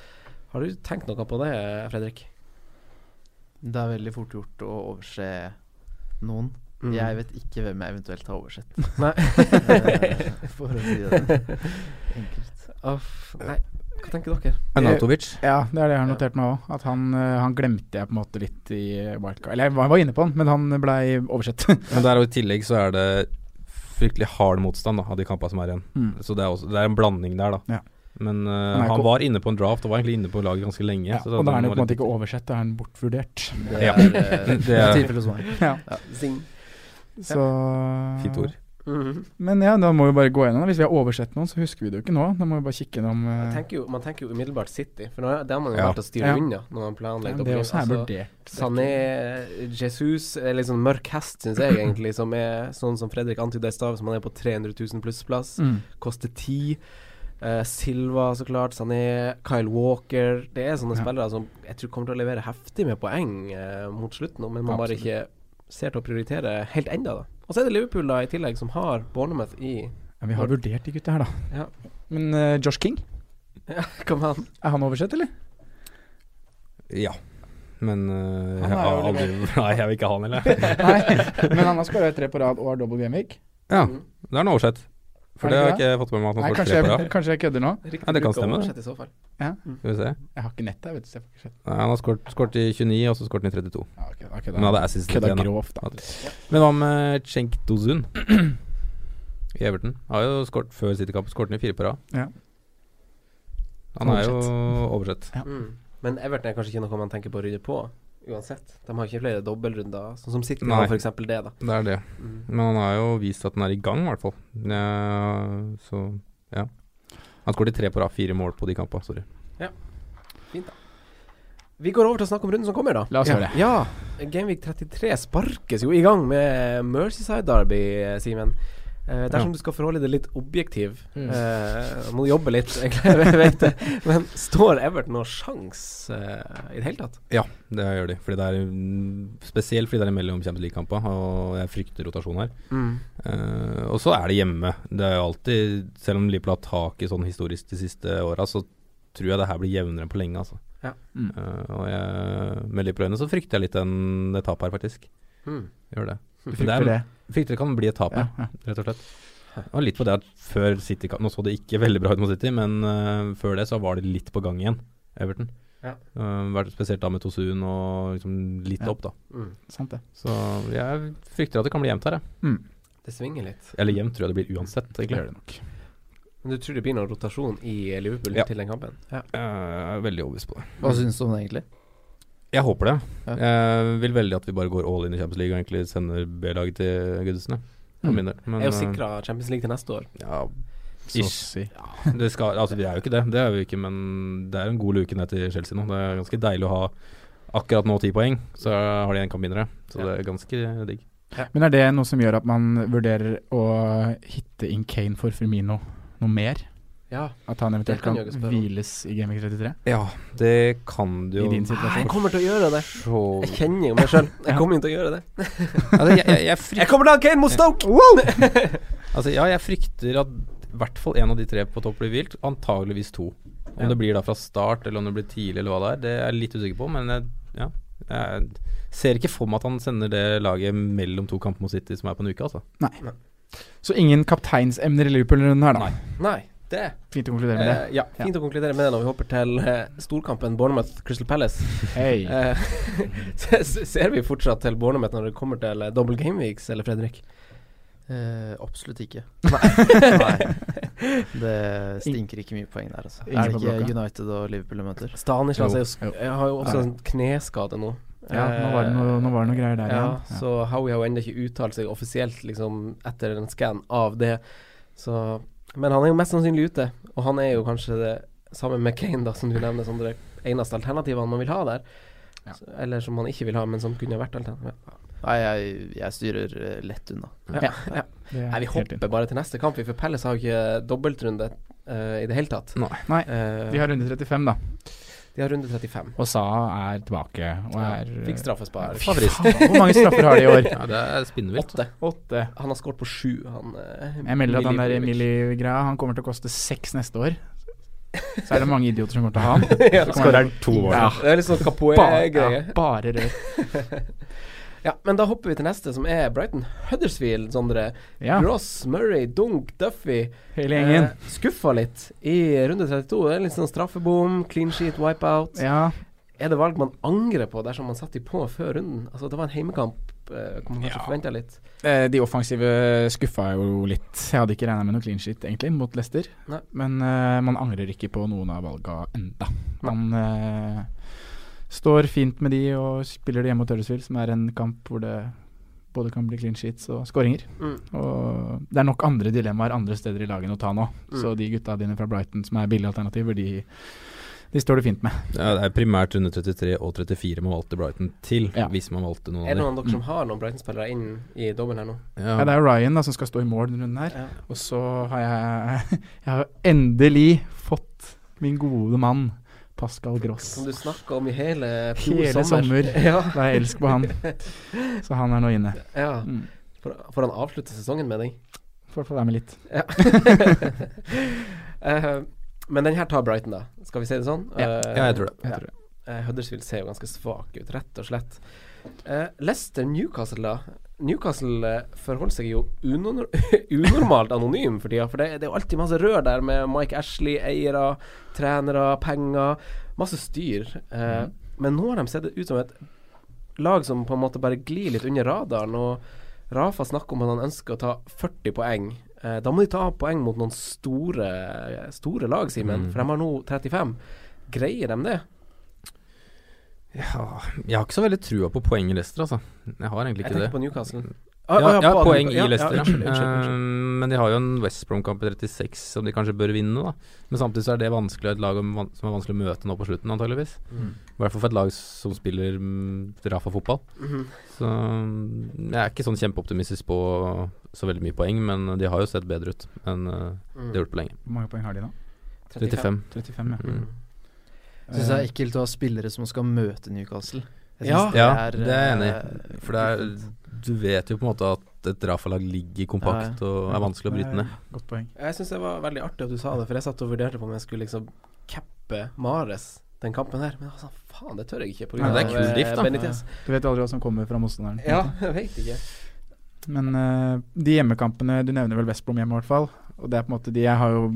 B: Har du tenkt noe på det, Fredrik?
D: Det er veldig fort gjort å overse noen.
B: Mm.
D: Jeg vet ikke hvem jeg eventuelt har [LAUGHS] oversett.
B: Nei. [LAUGHS]
D: Eh, For å si det enkelt.
B: Uff, nei, hva tenker dere?
C: Arnautovic.
E: Ja, det er det jeg har
D: Ja.
E: notert meg òg. At han, eh, han glemte jeg på en måte litt i eh, wildcard. Eller jeg var- jeg var inne på han, men han blei oversett. [LAUGHS]
C: Men der og i tillegg så er det fryktelig hard motstand da, av de kampene som er igjen.
E: Mm.
C: Så det er, også, det er en blanding der, da.
E: Ja.
C: Men eh,
E: er
C: han
E: ikke-
C: var inne på en draft og var egentlig inne på laget ganske lenge.
E: Ja,
C: så det-
E: og da er han jo på
C: var
E: en måte
C: litt-
E: ikke oversett, da er han bortvurdert.
C: [LAUGHS]
D: Det
C: Ja.
D: er, eh,
C: Det er-
D: tilfellet hos meg.
E: Ja,
B: Zing.
E: så
C: Fint ord.
B: Mhm.
E: Men ja, da må vi bare gå gjennom det. Hvis vi har oversett noen, så husker vi det jo ikke nå. Da må vi bare kikke gjennom
B: Man
E: eh,
B: tenker jo, man tenker jo umiddelbart City, for nå er- det har man jo
C: Ja.
B: valgt å styre
E: Ja.
B: unna når man planlegger
E: Det
B: dobbeltgame.
E: også er sånn
B: Altså,
E: vurdert.
B: Sané, Jesus er liksom mørk hest, syns
E: [LAUGHS]
B: jeg egentlig, som er sånn som Fredrik antydet i stad, hvis man er på 300 000 pluss-plass.
E: Mm.
B: koster ti. Eh, Silva, så klart. Sané, Kyle Walker. Det er sånne
E: Ja.
B: spillere som jeg tror kommer til å levere heftig med poeng eh, mot slutten, nå, men man bare ikke ser til å prioritere helt enda da. Og så er det Liverpool da i tillegg, som har Bournemouth i
E: Ja, vi har vurdert de gutta her, da.
B: Ja.
E: Men eh, Josh King,
B: Kom an.
E: er han oversett,
B: [LAUGHS]
E: eller?
C: Ja. Men eh,
E: Han
C: jeg
E: er
C: har
E: jo
C: aldri [LAUGHS] Nei, jeg vil ikke ha
E: [LAUGHS]
C: han heller.
E: Nei, men han har skåra tre på rad og har double game week.
C: Ja,
B: Mm.
C: det er han oversett.
E: Er
C: For
E: det
C: det har
E: ikke
C: ikke jeg fått med meg at
E: Nei,
C: han får
E: kanskje
C: tre på
E: jeg,
C: rad.
E: kanskje jeg kødder nå?
B: Riktig
C: Ja, det
B: bruk
C: kan
B: å
C: stemme, det.
B: oversette I så fall.
C: Skal vi se.
E: Jeg har ikke nettet, vet du. Så jeg får ikke sett.
C: Nei, han har skåret skåret i 29, og så skåret han i 32.
E: Ja, ok, da kødda
C: Men
E: han.
C: hadde assisten til
E: Kødda
C: en, da.
E: grovt, da.
C: Men hva med Cenk Dozun i Everton? Har jo skåret før City-kampen, skåret han i fire på rad.
E: Ja.
C: Han er jo oversett.
E: Ja.
B: Mm. Men Everton er kanskje ikke noe man tenker på å rydde på, uansett. De har ikke flere dobbeltrunder, sånn som City
C: Nei.
B: har f.eks. det, da.
C: Det er det.
B: Mm.
C: Men han har jo vist at han er i gang, i hvert fall. Ja, så ja. Han skåret tre på rad, fire mål på de kampene. Sorry.
B: Vi går over til å snakke om runden som kommer, da.
E: La oss
B: ja.
E: gjøre det.
B: Ja, Gameweek 33 sparkes jo i gang med Mercyside Derby, Simen. Eh, dersom
C: Ja.
B: du skal forholde deg litt objektiv,
E: Mm.
B: eh, må du jobbe litt, [LAUGHS] egentlig, jeg vet det. Men står Everton noen sjans eh, i det hele tatt?
C: Ja, det gjør de. Fordi det er mm, Spesielt fordi det er mellom Champions League-kampene, og jeg frykter rotasjon her. Eh, og så er det hjemme. Det er jo alltid Selv om Liverpool har tak i sånn historisk de siste åra, så tror jeg det her blir jevnere enn på lenge, altså.
B: Ja.
E: Mm.
C: Eh, og jeg, med Liverpool-øyne så frykter jeg litt den, det tapet her, faktisk.
B: Mm.
C: Gjør det.
B: Du
C: det
E: Frykter
C: er,
E: det.
C: frykter det kan bli et tap,
E: Ja,
C: ja.
E: ja.
C: rett og slett. Og litt på det at før City Nå så det ikke veldig bra ut mot City, men eh, før det så var det litt på gang igjen, Everton.
B: Ja.
C: Eh, vært spesielt da med Tosun og liksom litt
E: Ja.
C: opp, da.
B: Mm.
E: Sant det.
C: Så jeg frykter at det kan bli jevnt her, jeg.
B: Det svinger litt.
C: Eller jevnt tror jeg det blir uansett,
E: Det
C: egentlig.
E: gjør det nok.
B: Men du tror det blir noen rotasjon i Liverpool
C: Ja.
B: til den kampen? Ja.
C: Eh, Jeg er veldig overbevist på det.
D: Hva syns du om det, egentlig?
C: Jeg håper det.
D: Ja.
C: Jeg vil veldig at vi bare går all in i Champions League og egentlig sender B-laget til Gudesen.
E: Mm.
C: Mm. Men
B: Jeg er jo
C: eh,
B: sikra Champions League til neste år.
C: Ja,
E: Så å
C: Ish.
E: si.
C: det skal, altså, vi er jo ikke det, det er vi jo ikke, men det er en god luke ned til Chelsea nå. Det er ganske deilig å ha akkurat nå ti poeng, så har de en kamp mindre. Så
B: Ja.
C: det er ganske digg.
E: Men er det noe som gjør at man vurderer å hitte inn Kane for Firmino noe mer?
B: Ja.
E: At han
B: Det
E: eventuelt
B: kan
E: kan,
B: jeg ikke spørre om.
E: hviles i Gaming 33?
C: Ja, det kan du
E: I
C: jo
E: din
B: Ah, Jeg
E: situasjon.
B: kommer til å gjøre det.
E: [LAUGHS]
C: så
E: Oh.
B: Jeg kjenner jo meg sjøl. Jeg kommer jo til å gjøre det.
C: altså, jeg, jeg, jeg
B: Jeg
C: frykter,
B: kommer til å ha Kane mot Stoke!
C: altså, Ja, jeg frykter at i hvert fall én av de tre på topp blir vilt. Antageligvis to. Om
B: Ja.
C: det blir da fra start, eller om det blir tidlig, eller hva det er, det er jeg litt usikker på. Men jeg, ja, jeg ser ikke for meg at han sender det laget mellom to kamper mot City som er på en uke, altså.
E: Så ingen kapteinsemner i Liverpool-runden her, da.
C: Nei.
B: [LAUGHS] Nei, det
E: Fint å konkludere med det.
B: Eh, ja, fint å konkludere med det når vi hopper til eh, storkampen Bournemouth-Crystal Palace.
E: Hei.
B: Eh, [LAUGHS] se- se- ser vi fortsatt til Bournemouth når det kommer til eh, double game weeks, eller Fredrik?
D: Eh, absolutt ikke. [LAUGHS]
B: Nei.
D: Det stinker ikke mye poeng der, altså.
E: Ingen
D: Er det
E: på
D: ikke
E: blokka.
D: United og Liverpool de møter?
B: Stanislas
C: Jo.
B: er jo, sk- jeg har jo også en kneskade nå. Eh,
E: Ja, nå var det noe, nå var det noe greier der
B: ja,
E: igjen.
B: Så Howie har jo ennå ikke uttalt seg offisielt liksom, etter en scan av det. Så, men han er jo mest sannsynlig ute, og han er jo kanskje det sammen med Kane, da, som du nevner, som det eneste alternativene man vil ha der.
E: Ja.
B: Så- Eller som man ikke vil ha, men som kunne ha vært alternativ.
D: Nei, jeg, jeg styrer eh, lett unna.
B: Ja. Ja, ja.
E: Det er
B: Nei, vi
E: helt inn.
B: hopper bare til neste kamp, vi, for Pelles har jo ikke dobbeltrunde eh, i det hele tatt.
E: Nei,
B: Eh,
E: de har runde 35, da.
B: de har runde 35.
E: Og Sa er tilbake. Og er
B: Fikk straffespar.
E: Fy faen, Hvor mange straffer har de i år?
C: Ja, det er spinnvilt.
B: Åtte.
E: Åtte.
B: Han har skåret på sju, han eh,
E: Jeg melder at han der
B: Milivojevic.
E: Emily-greia Han kommer til å koste seks neste år. Så er det mange idioter som kommer til å ha han. [LAUGHS]
B: Ja.
E: Så kommer han-
C: to mål.
E: Ja,
B: Det er litt sånn
E: bare,
B: Capoe-greie.
E: ja, bare rør.
B: Ja, men da hopper vi til neste, som er Brighton Huddersfield, Sondre.
E: Ja,
B: Gross, Murray, Dunk, Duffy.
E: hele gjengen.
B: Eh, skuffa litt i runde 32. Det er Litt sånn straffebom, clean sheet, wipeout.
E: Ja,
B: Er det valg man angrer på dersom man satte de på før runden? Altså, det var en heimekamp. eh, Hvor man kanskje
E: Ja.
B: forventa litt.
E: Eh, De offensive skuffa jo litt. Jeg hadde ikke regna med noe clean sheet, egentlig, mot Leicester.
B: Nei.
E: Men eh, man angrer ikke på noen av valga enda. Man eh, står fint med de og spiller det hjemme mot Huddersfield, som er en kamp hvor det både kan bli clean sheets og skåringer.
B: Mm.
E: Og det er nok andre dilemmaer andre steder i lagen å ta nå.
B: Mm.
E: Så de gutta dine fra Brighton som er billige alternativer, de, de står det fint med.
C: Ja, det er primært runde 33 og 34 man valgte Brighton til,
E: Ja.
C: hvis man valgte noen
B: Er det
C: av dem.
B: noen av dere som har noen Brighton-spillere inn i dobbelen her nå?
E: Ja, det er jo Ryan da som skal stå i mål denne runden her.
B: Ja.
E: Og så har jeg [LAUGHS] Jeg har endelig fått min gode mann Pascal Gross.
B: Som du snakka om i hele fjor
E: Hele sommer.
B: [LAUGHS] Ja,
E: [LAUGHS] Da er jeg elsk på han. Så han er nå inne.
B: ja.
E: Mm.
B: For, for han avslutter sesongen med deg.
E: Får få være med litt.
C: [LAUGHS]
B: Ja. Eh, men den her tar Brighton, da. Skal vi si det sånn?
E: Ja.
B: Eh,
C: Ja, jeg tror det.
E: Jeg
B: ja.
E: tror det.
B: Eh, Huddersfield ser jo ganske svak ut, rett og slett. Eh, Leicester Newcastle, da. Newcastle eh, forholder seg jo unor [LAUGHS] unormalt anonym for tida. For det, det er jo alltid masse rør der med Mike Ashley, eiere, trenere, penger. Masse styr. Eh, Men nå har de sett ut som et lag som på en måte bare glir litt under radaren. Og Rafa snakker om at han ønsker å ta 40 poeng. Eh, da må de ta poeng mot noen store, store lag, Simen.
C: Mm.
B: For de har nå 35. Greier de det?
C: Ja, jeg har ikke så veldig trua på poeng i Leicester, altså. Jeg har egentlig
B: Jeg
C: ikke
B: tenker
C: det. Mm.
B: på Newcastle.
C: Ja,
B: Ah, ah,
C: ja,
B: på-
C: poeng
B: ja,
C: i Leicester,
B: Ja,
C: ja.
B: unnskyld, unnskyld, unnskyld.
C: Eh, Men de har jo en West Brom-kamp i 36 som de kanskje bør vinne, da. Men samtidig så er det vanskelig et lag om- som er vanskelig å møte nå på slutten, antageligvis.
B: Mm.
C: I hvert fall for et lag som spiller mm, Rafa-fotball.
E: Mm-hmm.
B: Mhm.
C: Så mm, jeg er ikke sånn kjempeoptimistisk på så veldig mye poeng, men de har jo sett bedre ut enn eh,
E: Mm.
C: de har gjort på lenge.
E: Hvor mange poeng har de nå?
C: 35.
E: 35, ja. Eh,
C: Mm.
D: Syns det er ekkelt å ha spillere som skal møte Newcastle. Jeg
B: Ja.
D: synes
C: Ja, det er jeg
D: eh,
C: For det er, du vet jo på en måte at et Rafa-lag ligger kompakt og er vanskelig å bryte ned.
E: Godt poeng.
B: Jeg syns det var veldig artig at du sa det, for jeg satt og vurderte på om jeg skulle liksom cappe Mares den kampen her. Men altså, faen, det tør jeg ikke pga.
E: Ja, det er
C: kul drift, da.
B: eh,
C: Mm.
B: Benitez.
E: Du vet aldri hva som kommer fra motstanderen.
B: Ja, jeg vet ikke.
E: Men eh, de hjemmekampene Du nevner vel West Brom hjemme, i hvert fall. Og det er på en måte de jeg har jo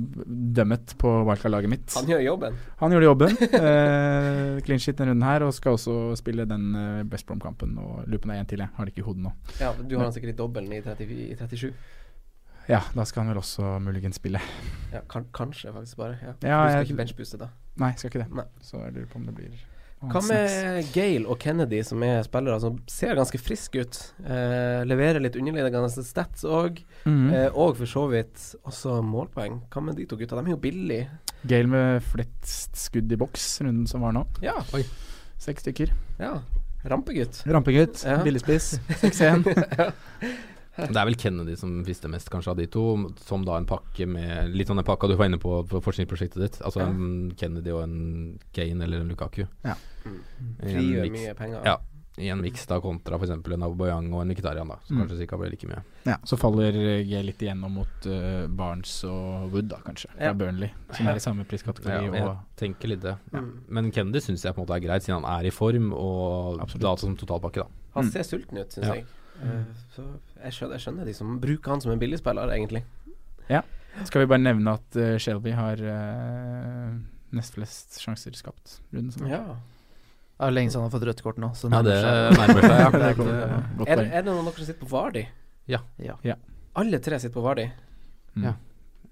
E: dømmet på wildcard-laget mitt.
B: Han gjør jobben.
E: Han gjorde jobben. Eh, clean shit denne runden her, og skal også spille den eh, West Brom-kampen. Og lurer på om det er en til, jeg. Har det ikke i hodet nå.
B: Ja, Du har han sikkert i dobbelen i, 34 i 37.
E: Ja, da skal han vel også muligens spille.
B: Ja, kan, kanskje, faktisk, bare. Ja. du
E: Ja,
B: skal
E: jeg-
B: ikke benchbooste, da.
E: Nei, skal ikke det.
B: Nei.
E: Så jeg lurer på om det blir Mm.
B: Hva med Gale og Kennedy, som er spillere som ser ganske friske ut? Eh, leverer litt underliggende stats òg,
E: Mhm.
B: eh, og for så vidt også målpoeng. Hva med de to gutta? De er jo billige.
E: Gale med flest skudd i boks, runden som var nå.
B: Ja.
E: Seks stykker.
B: ja.
E: [LAUGHS]
B: Rampegutt.
E: Rampegutt,
B: Ja.
E: billespiss,
B: [LAUGHS]
E: 6-1.
C: Det er vel Kennedy som frister mest, kanskje, av de to. Som da en pakke med Litt sånn den pakka du var inne på på forskningsprosjektet ditt. Altså
B: Ja.
C: en Kennedy og en Kane eller en Lukaku.
E: Ja.
B: Mm.
C: I en
B: Frigjør
C: miks-
B: mye penger.
C: Ja. I en miks da kontra f.eks. en Abobayang og en Mkhitaryan, da. Så
E: Mm.
C: kanskje Sika blir like mye.
E: ja, så faller eh, Gale litt igjennom mot eh, Barnes og Wood, da kanskje. Fra
B: Ja.
E: Burnley, som er i samme priskategori.
C: Ja, jeg
E: og
C: tenker litt det.
B: Mm.
C: Men Kennedy syns jeg på en måte er greit, siden han er i form, og
E: Absolutt.
C: da som totalpakke, da.
B: Han
E: Mm.
B: ser sulten ut, syns
C: Ja.
B: jeg. Eh, Så jeg skjønner, jeg skjønner de som bruker han som en billigspiller, egentlig.
E: Skal vi bare nevne at eh, Shelby har eh, nest flest sjanser skapt runden som var.
B: Ja.
D: Det er lenge siden han har fått rødt kort nå. Så
C: Ja, det
D: nærmer
C: nærmer
D: seg. [LAUGHS]
C: seg, ja.
E: Det er godt,
B: Er,
E: eh,
B: det-
E: godt poeng.
B: er det noen av dere som sitter på Vardi?
D: Ja.
E: Ja.
B: Alle tre sitter på Vardi.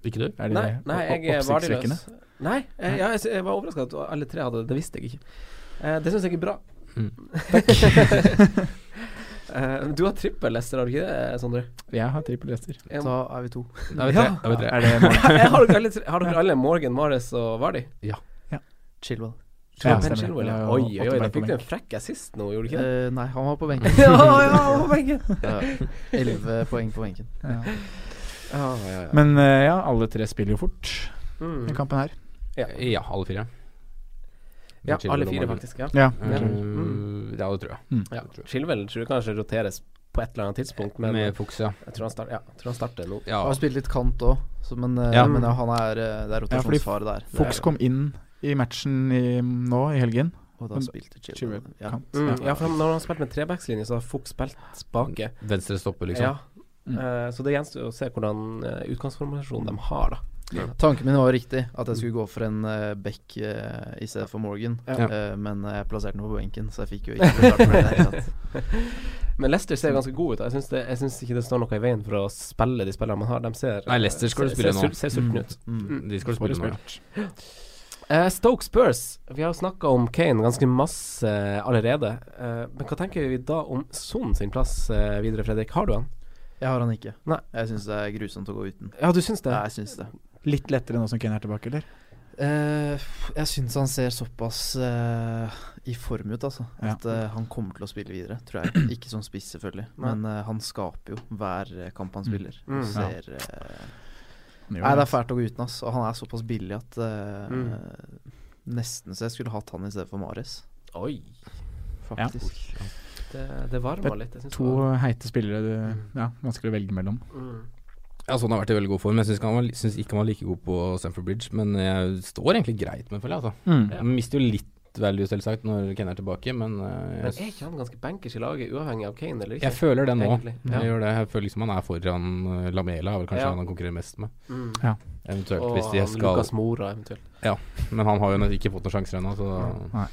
C: Ikke du?
E: Mm. Er det
B: Nei,
E: det?
B: nei,
E: Opp-
B: jeg er
E: oppsiktsvekkende?
B: Vardi-løs. Nei, jeg, ja, jeg, jeg var overraska at alle tre hadde det. Det visste jeg ikke. Eh, det syns jeg er bra.
C: Mm.
B: [LAUGHS] Takk. Eh, du har trippel Lester, har du ikke det, Sondre?
E: Jeg har trippel rester.
B: En-
D: Da er vi to.
C: Da er vi tre. Da er vi tre.
E: Er det Morgan?
B: [LAUGHS]
E: [LAUGHS]
B: Jeg har dere alle, tre- har dere alle Morgan, Mares og Vardi?
D: Chilwell.
E: Ja,
B: Ben
E: stemmer.
B: Chilwell, ja.
E: Ja,
B: Oi,
E: åtte
B: oi, oi, da
E: poeng på
B: fikk du en frekk assist nå, gjorde du ikke det?
D: Eh, nei, han var
C: [LAUGHS]
D: på benken.
B: [LAUGHS] ja, ja, oh på benken.
D: Elleve poeng på benken.
E: Ja.
B: Ja, ja, ja.
E: Men eh, ja, alle tre spiller jo fort i
B: Mm.
E: kampen her.
B: Ja.
C: Ja, alle fire.
B: ja,
C: Chilwell
B: alle
C: og
B: fire,
C: Morgan.
B: faktisk. Ja.
E: Ja.
C: Eh,
B: Mm.
C: Ja, det tror jeg.
B: ja. Chilwell tror jeg kanskje roteres på et eller annet tidspunkt, men
C: Med Fuchs, ja.
B: jeg tror han, start, ja, jeg tror han starter nå.
C: ja.
D: Han har spilt litt kant òg, men, eh,
C: Ja.
D: men ja, han er, eh, det er
E: Ja, fordi
D: rotasjonsfare der.
E: Fuchs kom inn i matchen i, nå i helgen.
D: Og da spilte
E: Chilwell
D: Chilwell. Ja.
E: kant.
B: Mm,
E: Ja.
B: ja, for han, når han spilte med trebackslinje, så har Fuchs spilt bake.
C: Venstre stopper,
B: Mm.
C: liksom.
B: Ja.
E: Mm.
B: Eh, så det gjenstår å se hvordan eh, utgangsformasjonen de har, da.
D: Tanken min var riktig, at jeg skulle gå for en eh, Beck eh, i stedet for Morgan.
B: Ja.
D: Eh, men jeg plasserte den på benken, så jeg fikk jo ikke betalt for det. i det hele tatt.
B: Men Leicester ser ganske gode ut. da. Jeg syns, det, jeg syns ikke det står noe i veien for å spille de spillene man har. De ser
C: Nei, Leicester skal du
B: ser-
C: spille
B: ser
C: nå.
B: sul- Ser sultne
E: Mm.
B: ut.
D: Mm.
C: De skal
E: Får
C: spille
E: det
C: nå. ja.
E: spilt.
B: Eh, Stoke Spurs. Vi har jo snakka om Kane ganske masse eh, allerede. Eh, men hva tenker vi da om Son sin plass eh, videre, Fredrik? Har du han?
D: Jeg har han ikke.
B: Nei.
D: Jeg syns det er grusomt å gå uten.
B: Ja, du syns det?
D: Nei, jeg syns det.
E: Litt lettere nå som Kane er tilbake, eller?
D: Eh, jeg syns han ser såpass eh, i form ut, altså.
E: Ja.
D: At eh, han kommer til å spille videre, tror jeg. Ikke som spiss, selvfølgelig,
B: Nei.
D: men eh, han skaper jo hver eh, kamp han
E: Mm.
D: spiller.
B: Mm.
D: Og
E: Ja.
D: ser eh,
E: Han gjør
D: Nei, det er fælt å gå uten, ass. Og han er såpass billig at eh, Nesten så jeg skulle hatt han i stedet for Mares,
B: Oi.
D: faktisk.
B: Det, det varma litt. Jeg synes
E: To heite spillere du Ja, vanskelig å velge mellom.
B: det var, mm.
C: Ja, sånn har vært i veldig god form. Jeg syns ikke, han var- synes ikke han var like god på Stamford Bridge, men jeg står egentlig greit med, føler jeg. Altså.
E: Mm.
B: Ja.
C: Han mister jo litt value, selvsagt, når Ken er tilbake, men eh,
B: Men
C: jeg,
B: er ikke han ganske bankers i laget, uavhengig av Kane, eller ikke?
C: jeg føler det nå.
B: Egentlig, ja.
C: Jeg gjør det. Jeg føler liksom han er foran eh, Lamela, er vel kanskje
B: Ja.
C: han han konkurrerer mest med.
B: Mm.
C: Eventuelt,
B: Og
C: hvis de
B: han
C: skal
B: Lukas Mora, eventuelt.
C: Men han har jo nok ikke fått noen sjanser ennå, så
E: Nei.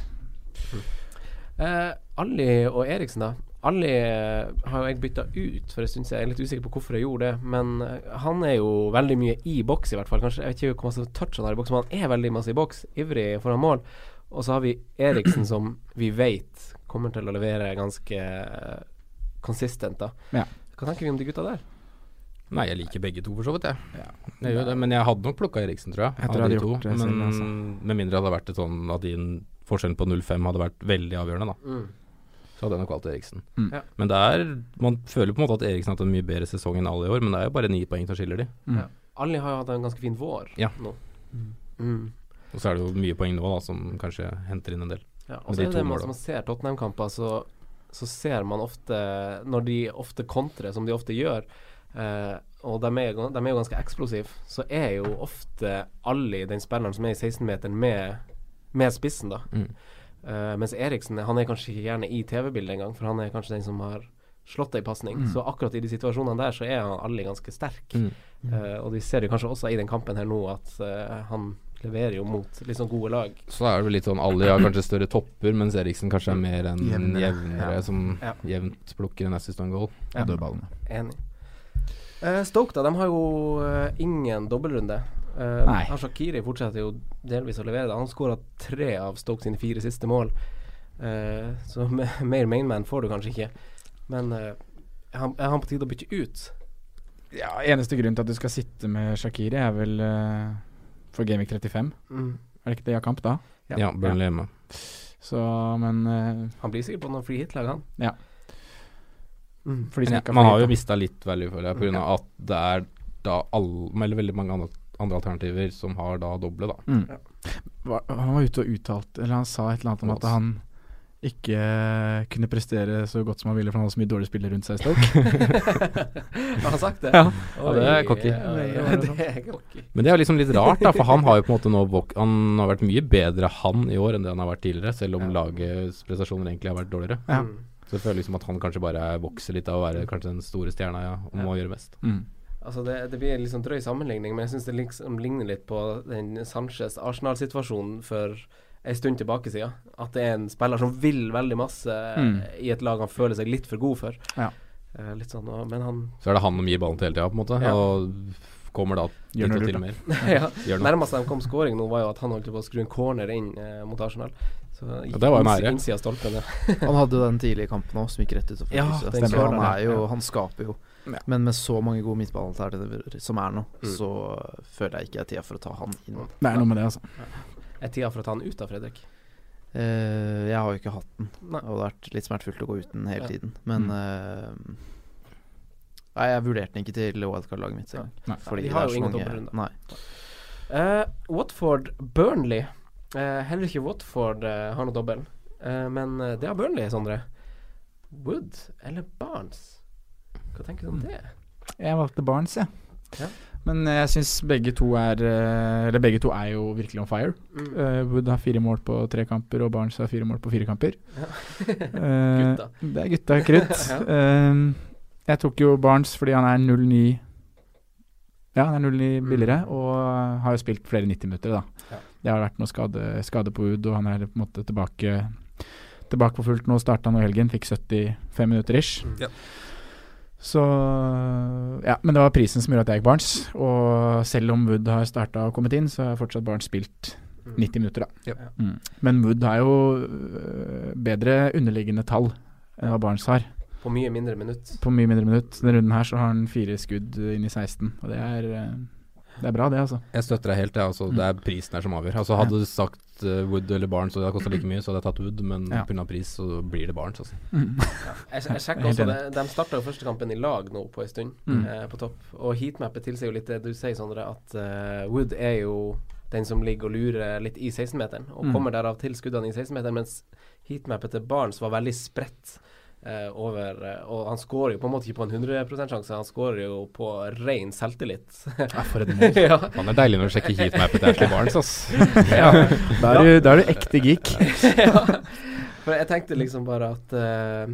B: Eh, Alli og Eriksen, da. Alli eh, har jo jeg bytta ut, for jeg syns jeg er litt usikker på hvorfor jeg gjorde det. Men eh, han er jo veldig mye i boks, i hvert fall. Kanskje, jeg vet ikke hvor masse touch han har i boks, men han er veldig masse i boks. Ivrig foran mål. Og så har vi Eriksen, som vi vet kommer til å levere ganske eh, konsistent, da.
E: Ja.
B: Hva tenker vi om de gutta der?
C: Nei, jeg liker begge to, for så vidt, jeg.
E: Ja.
C: Jeg gjør det, men jeg hadde nok plukka Eriksen, tror jeg.
E: Jeg
C: av
E: tror jeg
C: de
E: hadde gjort
C: to.
E: det selv,
C: men
E: altså.
C: med mindre det hadde vært et sånn at din forskjellen på 0-5 hadde vært veldig avgjørende, da. Så hadde jeg nok valgt Eriksen.
E: Mm.
B: Ja.
C: Men det er Man føler på en måte at Eriksen har hatt en mye bedre sesong enn alle i år, men det er jo bare ni poeng som skiller de.
E: Mm.
B: Ja. Alli har jo hatt en ganske fin vår
C: Ja.
B: nå.
D: Mm.
B: Mm.
C: Og så er det jo mye poeng nå, da, som kanskje henter inn en del.
B: Ja, og
C: Med
B: så
C: de
B: er
C: to
B: det man,
C: måla.
B: man ser Tottenham-kamper, så, så ser man ofte Når de ofte kontrer, som de ofte gjør, eh, og de er, gan- de er jo ganske eksplosive, så er jo ofte Alli den spilleren som er i 16-meteren med, med spissen, da.
C: Mm.
B: Eh, mens Eriksen han er kanskje ikke gjerne i TV-bildet engang, for han er kanskje den som har slått ei pasning. Så akkurat i de situasjonene der så er han Alli ganske sterk.
C: Mm.
B: Eh, og de ser jo kanskje også i den kampen her nå at eh, han leverer jo mot litt sånn gode lag.
C: Så er det vel litt sånn alle har kanskje større topper, mens Eriksen kanskje er mer enn
E: Jevnere.
C: jevnere,
E: Ja.
C: som
B: Ja.
C: jevnt plukker en assist og en goal.
B: Ja.
E: Og dødballene.
B: Enig. Eh, Stoke, da. De har jo eh, ingen dobbeltrunde. Uh,
E: Nei.
B: Shakiri fortsetter jo delvis å levere det. Han skåra tre av Stoke sine fire siste mål. Eh, så [LAUGHS] me- mer mainman får du kanskje ikke. Men eh, er han, er han på tide å bytte ut?
E: Ja, eneste grunn til at du skal sitte med Shakiri, er vel eh, for Gameweek 35.
B: Mm.
E: Er det ikke det jeg har kamp da?
B: Ja.
C: Ja, Burnley hjemme.
E: Så, men eh,
B: Han blir sikkert på noen free hit-lag, han.
E: Ja.
B: Mm.
E: for de som
C: Men
E: ikke
C: ja, man har
E: fri,
C: jo
E: da.
C: mista litt value, føler jeg, pga. at det er da alle, eller veldig mange andre, andre alternativer som har da doble, da.
E: Mm.
B: Ja.
E: Hva- Han var ute og uttalte Eller han sa et eller annet om at han ikke eh, kunne prestere så godt som han ville, for han hadde så mye dårlige spillere rundt seg i Stoke.
B: [LAUGHS] har han sagt det?
E: Ja.
C: Ja, det er cocky.
B: Ja, ja, det er cocky.
C: Men det er jo liksom litt rart, da, for han har jo på en måte nå vok Han har vært mye bedre han i år enn det han har vært tidligere, selv om lagets prestasjoner egentlig har vært dårligere.
E: Ja.
B: Mm.
C: Så jeg føler liksom at han kanskje bare vokser litt av å være kanskje den store stjerna ja, om å gjøre mest.
E: Mm.
B: Altså det, det blir en litt sånn drøy sammenligning, men jeg syns det liksom ligner litt på den Sanchez-Arsenal-situasjonen for en stund tilbake siden. At det er en spiller som vil veldig masse eh,
E: Mm.
B: i et lag han føler seg litt for god for.
E: Ja.
B: Eh, litt sånn, og, men
C: [LAUGHS]
B: han
C: Så er det han som gir ballen til hele tida, på en måte.
B: Ja.
C: Og kommer da
E: Gjør
C: dit
E: noe
C: og
E: lurt,
C: til
E: da.
C: mer.
B: ja,
C: Gjør noe.
B: Nærmest de kom scoring nå, var jo at han holdt på å skru en corner inn eh, mot Arsenal. Så gikk
C: det var jo
B: inns-
C: nære.
B: innsida av stolpen. ja.
D: [LAUGHS] Han hadde jo den tidlige kampen òg, som gikk rett utenfor
B: Ja,
D: krysset.
B: den
D: Så han,
B: skåreren,
D: er jo,
E: ja.
D: han skaper jo.
C: Ja.
D: Men med så mange gode midtbanealternativer som er nå,
B: Mm.
D: så føler jeg ikke det er tida for å ta han inn.
E: Det er noe med det, altså.
B: Er tida for å ta han ut av Fredrik?
D: Eh, jeg har jo ikke hatt den,
B: Nei.
D: og det har vært litt smertefullt å gå uten hele
B: Ja. Mm.
D: tiden. Men eh, Nei, jeg vurderte den ikke til wildcard-laget mitt. engang,
E: Nei.
D: Fordi
B: Vi
D: det
B: har
D: er
B: jo
D: så
B: ingen
D: mange
B: dobbeltrunde.
D: Nei.
B: Eh, Watford Burnley. Eh, heller ikke Watford eh, har noe dobbel, Eh, men eh, det har Burnley, Sondre. Wood eller Barnes? Hva tenker du om
E: Mm.
B: det?
E: Jeg valgte Barnes, jeg.
B: Ja.
E: Men eh, jeg syns begge to er eh, Eller begge to er jo virkelig on fire.
B: Mm. [LAUGHS]
E: Eh, Wood har fire mål på tre kamper, og Barnes har fire mål på fire kamper. Eh,
B: Gutta.
E: det er gutta krutt.
B: [LAUGHS] Ja.
E: Eh, jeg tok jo Barnes fordi han er 0-9 Ja, han er 0-9 billigere,
B: Mm.
E: og har jo spilt flere 90-minutter, da.
B: Ja.
E: Det har vært noe skade, skade på Wood, og han er på en måte tilbake Tilbake på fullt nå. Starta nå i helgen, fikk 75 minutter ish.
B: Mm.
C: Ja.
E: Så Ja, men det var prisen som gjorde at jeg gikk Barnes. Og selv om Wood har starta og kommet inn, så har fortsatt Barnes spilt
B: Mm.
E: 90 minutter, da.
C: Ja.
E: Mm. Men Wood har jo øh, bedre underliggende tall enn hva Barnes har.
B: På mye mindre minutt.
E: På mye mindre minutt. Denne runden her så har han fire skudd øh, inn i 16, og det er, øh, det er bra, det, altså.
C: Jeg støtter deg helt, jeg.
E: Mm.
C: Altså, det er prisen her som avgjør. Altså, hadde du sagt eh, Wood eller Barnes, og det hadde kosta like mye, så hadde jeg tatt Wood, men
E: Ja.
C: pga. pris så blir det Barnes. Altså.
B: Jeg, jeg sjekker
E: Helt
B: også det. De starta jo første kampen i lag nå på en stund,
E: Mm.
B: eh, på topp. Og heatmappet tilsier jo litt det du sier, Sondre, at eh, Wood er jo den som ligger og lurer litt i 16-meteren, og
E: Mm.
B: kommer derav til skuddene i 16-meteren, mens heatmappet til Barnes var veldig spredt. eh, over, eh, og han skårer jo på en måte ikke på en 100 %-sjanse, han skårer jo på ren selvtillit.
E: [LAUGHS] Ja, for et mål.
B: [LAUGHS] ja.
C: Faen, det er deilig når du sjekker heatmapet til Ashley Barnes,
E: [LAUGHS]
C: ass.
E: ja. Da er, du, da er du ekte geek.
B: [LAUGHS] ja. For jeg tenkte liksom bare at eh,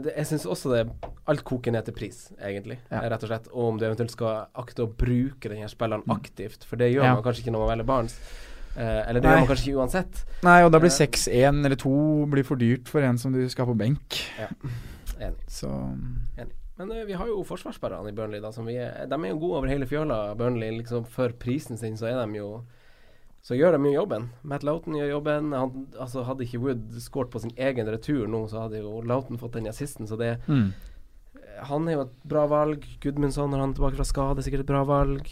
B: det, Jeg syns også det Alt koker ned til pris, egentlig.
E: Ja.
B: eh, Rett og slett. Og om du eventuelt skal akte å bruke den her spilleren aktivt. For det gjør
E: Mm. Ja.
B: man kanskje ikke når man velger Barents. Eh, eller det
E: Nei.
B: gjør man kanskje ikke uansett.
E: Nei, og da blir
B: Eh.
E: 6-1 eller 2 blir for dyrt for en som du skal på benk.
B: Enig.
E: Så
B: Men eh, vi har jo forsvarsspillerne i Burnley, da. Som vi er, de er jo gode over hele fjøla, Burnley. Liksom for prisen sin så er de jo så gjør de jo jobben. Matt Loughton gjør jobben. Han, altså, hadde ikke Wood skåret på sin egen retur nå, så hadde jo Loughton fått den assisten, så det
E: mm.
B: Han er jo et bra valg. Gudmundsson, når han er tilbake fra skade, sikkert et bra valg.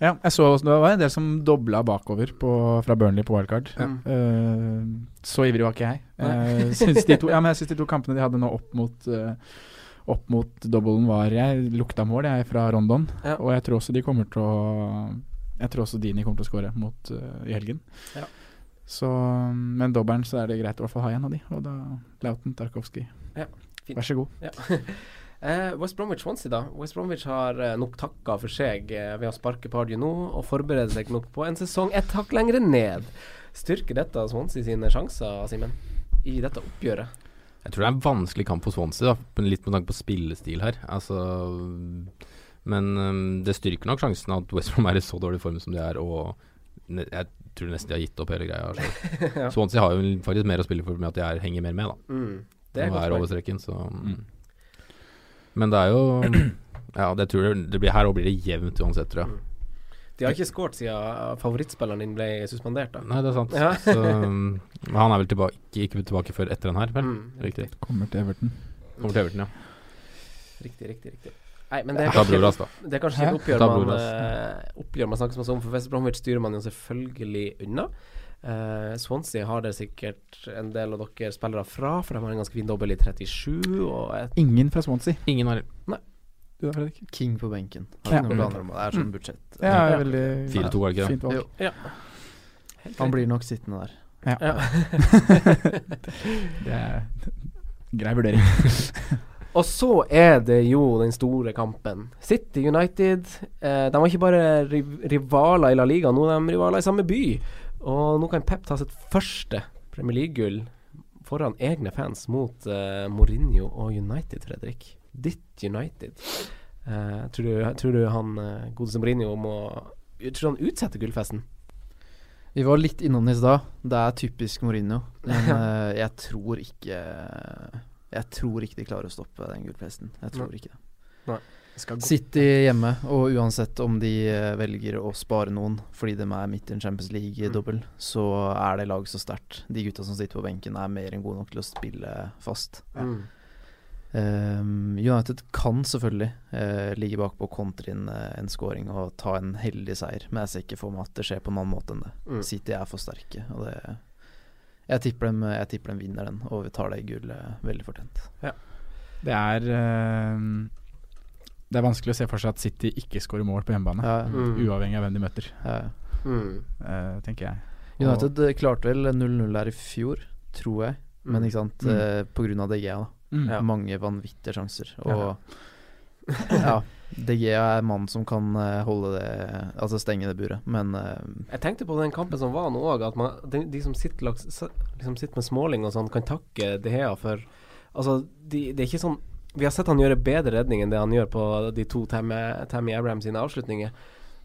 E: Ja, jeg så også, det var en del som dobla bakover på, fra Burnley på wildcard.
B: Ja.
E: Eh, så ivrig var ikke jeg.
B: Nei.
E: Eh, syns de to, ja, men jeg syns de to kampene de hadde nå opp mot eh, Opp mot doublen var Jeg lukta mål, jeg, fra Rondon.
B: Ja.
E: Og jeg tror også de kommer til å Jeg tror også Dini kommer til å skåre mot eh, i helgen.
B: Ja.
E: Så Men dobbelen så er det greit å i hvert fall ha en av de. Og da Lauten Tarkovskij.
B: Ja, fint.
E: Vær så god.
B: [LAUGHS] Eh, West Bromwich Swansea, da. West Bromwich har eh, nok takka for seg eh, ved å sparke Pardew nå, og forberede seg nok på en sesong ett hakk lenger ned. Styrker dette Swansea sine sjanser, Simen, i dette oppgjøret?
C: Jeg tror det er en vanskelig kamp for Swansea, da, men litt med tanke på spillestil her. Altså, men øhm, det styrker nok sjansen at West Brom er i så dårlig form som de er, og ne jeg tror nesten de har gitt opp hele greia. Altså.
E: [LAUGHS]
B: Ja.
C: Swansea har jo faktisk mer å spille for med at de er, henger mer med, da.
B: Mm.
C: Det er, er
B: poeng.
C: over streken, så um,
E: Mm.
C: Men det er jo Ja, det tror jeg det blir, her òg blir det jevnt uansett, tror jeg.
B: De har ikke skåret siden eh, favorittspilleren din ble suspendert, da.
C: Nei, det er sant.
B: Ja.
C: så, øhm, men han er vel tilbake, ikke tilbake før etter den her, vel?
B: Mm,
C: Riktig.
E: Kommer til Everton.
C: Kommer til Everton, ja.
B: Riktig, riktig, riktig. Nei, men det er
C: Ta
B: kanskje,
C: Broras, da.
B: det er kanskje
E: Hæ?
B: et oppgjør
C: Ta
B: man,
C: Brodas.
B: eh, oppgjør man snakker så mye om, for West Bromwich styrer man jo selvfølgelig unna. Eh, Swansea har det sikkert en del av dere spillere fra, for de har en ganske fin dobbel i 37 og et
E: Ingen fra Swansea.
C: Ingen har
E: Du da, Fredrik?
D: King på benken.
E: Ja.
D: Har ikke noen
B: Mm.
D: planer om det. Det er sånn budsjett.
E: Ja,
B: Ja.
E: veldig
C: 4-2, er det ikke det?
E: Fint valg.
D: Jo, han blir nok sittende der.
B: ja. [LAUGHS]
E: Det er grei vurdering.
B: Og så er det jo den store kampen. City United eh, De var ikke bare riv rivaler i La Liga, nå er de rivaler i samme by. Og nå kan Pep ta sitt første Premier League-gull foran egne fans mot eh, Mourinho og United, Fredrik. Ditt United. Eh, tror, du, tror du han eh, godeste Mourinho må Tror du han utsetter gullfesten?
D: Vi var litt innom det i stad. Det er typisk Mourinho. Men eh, jeg tror ikke Jeg tror ikke de klarer å stoppe den gulpesten. Jeg tror
B: Nei.
D: ikke det.
E: Skal gå.
D: City hjemme, og uansett om de eh, velger å spare noen fordi de er midt i en Champions League-dobbel, så er det laget så sterkt. De gutta som sitter på benken er mer enn gode nok til å spille fast.
B: Mm.
D: Ehm, United kan selvfølgelig eh, ligge bakpå, kontre inn eh, en scoring og ta en heldig seier, men jeg ser ikke for meg at det skjer på en annen måte enn det.
B: Mm.
D: City er for sterke, og det jeg tipper, dem, jeg tipper dem vinner den, og vi tar det gullet veldig fortjent.
E: Det er eh, Det er vanskelig å se for seg at City ikke skårer mål på hjemmebane.
D: Ja,
B: Mm.
E: Uavhengig av hvem de møter,
D: ja.
B: Mm.
E: eh, tenker jeg. Og-
D: United eh, klarte vel 0-0 der i fjor, tror jeg. Men ikke sant,
E: Mm.
D: eh, på grunn av DGA, da.
E: Mm.
B: Ja.
D: Mange vanvittige sjanser. Og ja, DGA er mannen som kan eh, holde det Altså stenge det buret, men eh,
B: Jeg tenkte på den kampen som var nå òg, at man, de, de som sitter, langs, s- liksom sitter med småling og sånn, kan takke De Hea for Altså, de, det er ikke sånn Vi har sett han gjøre bedre redning enn det han gjør på de to Tammy, Tammy Abraham sine avslutninger,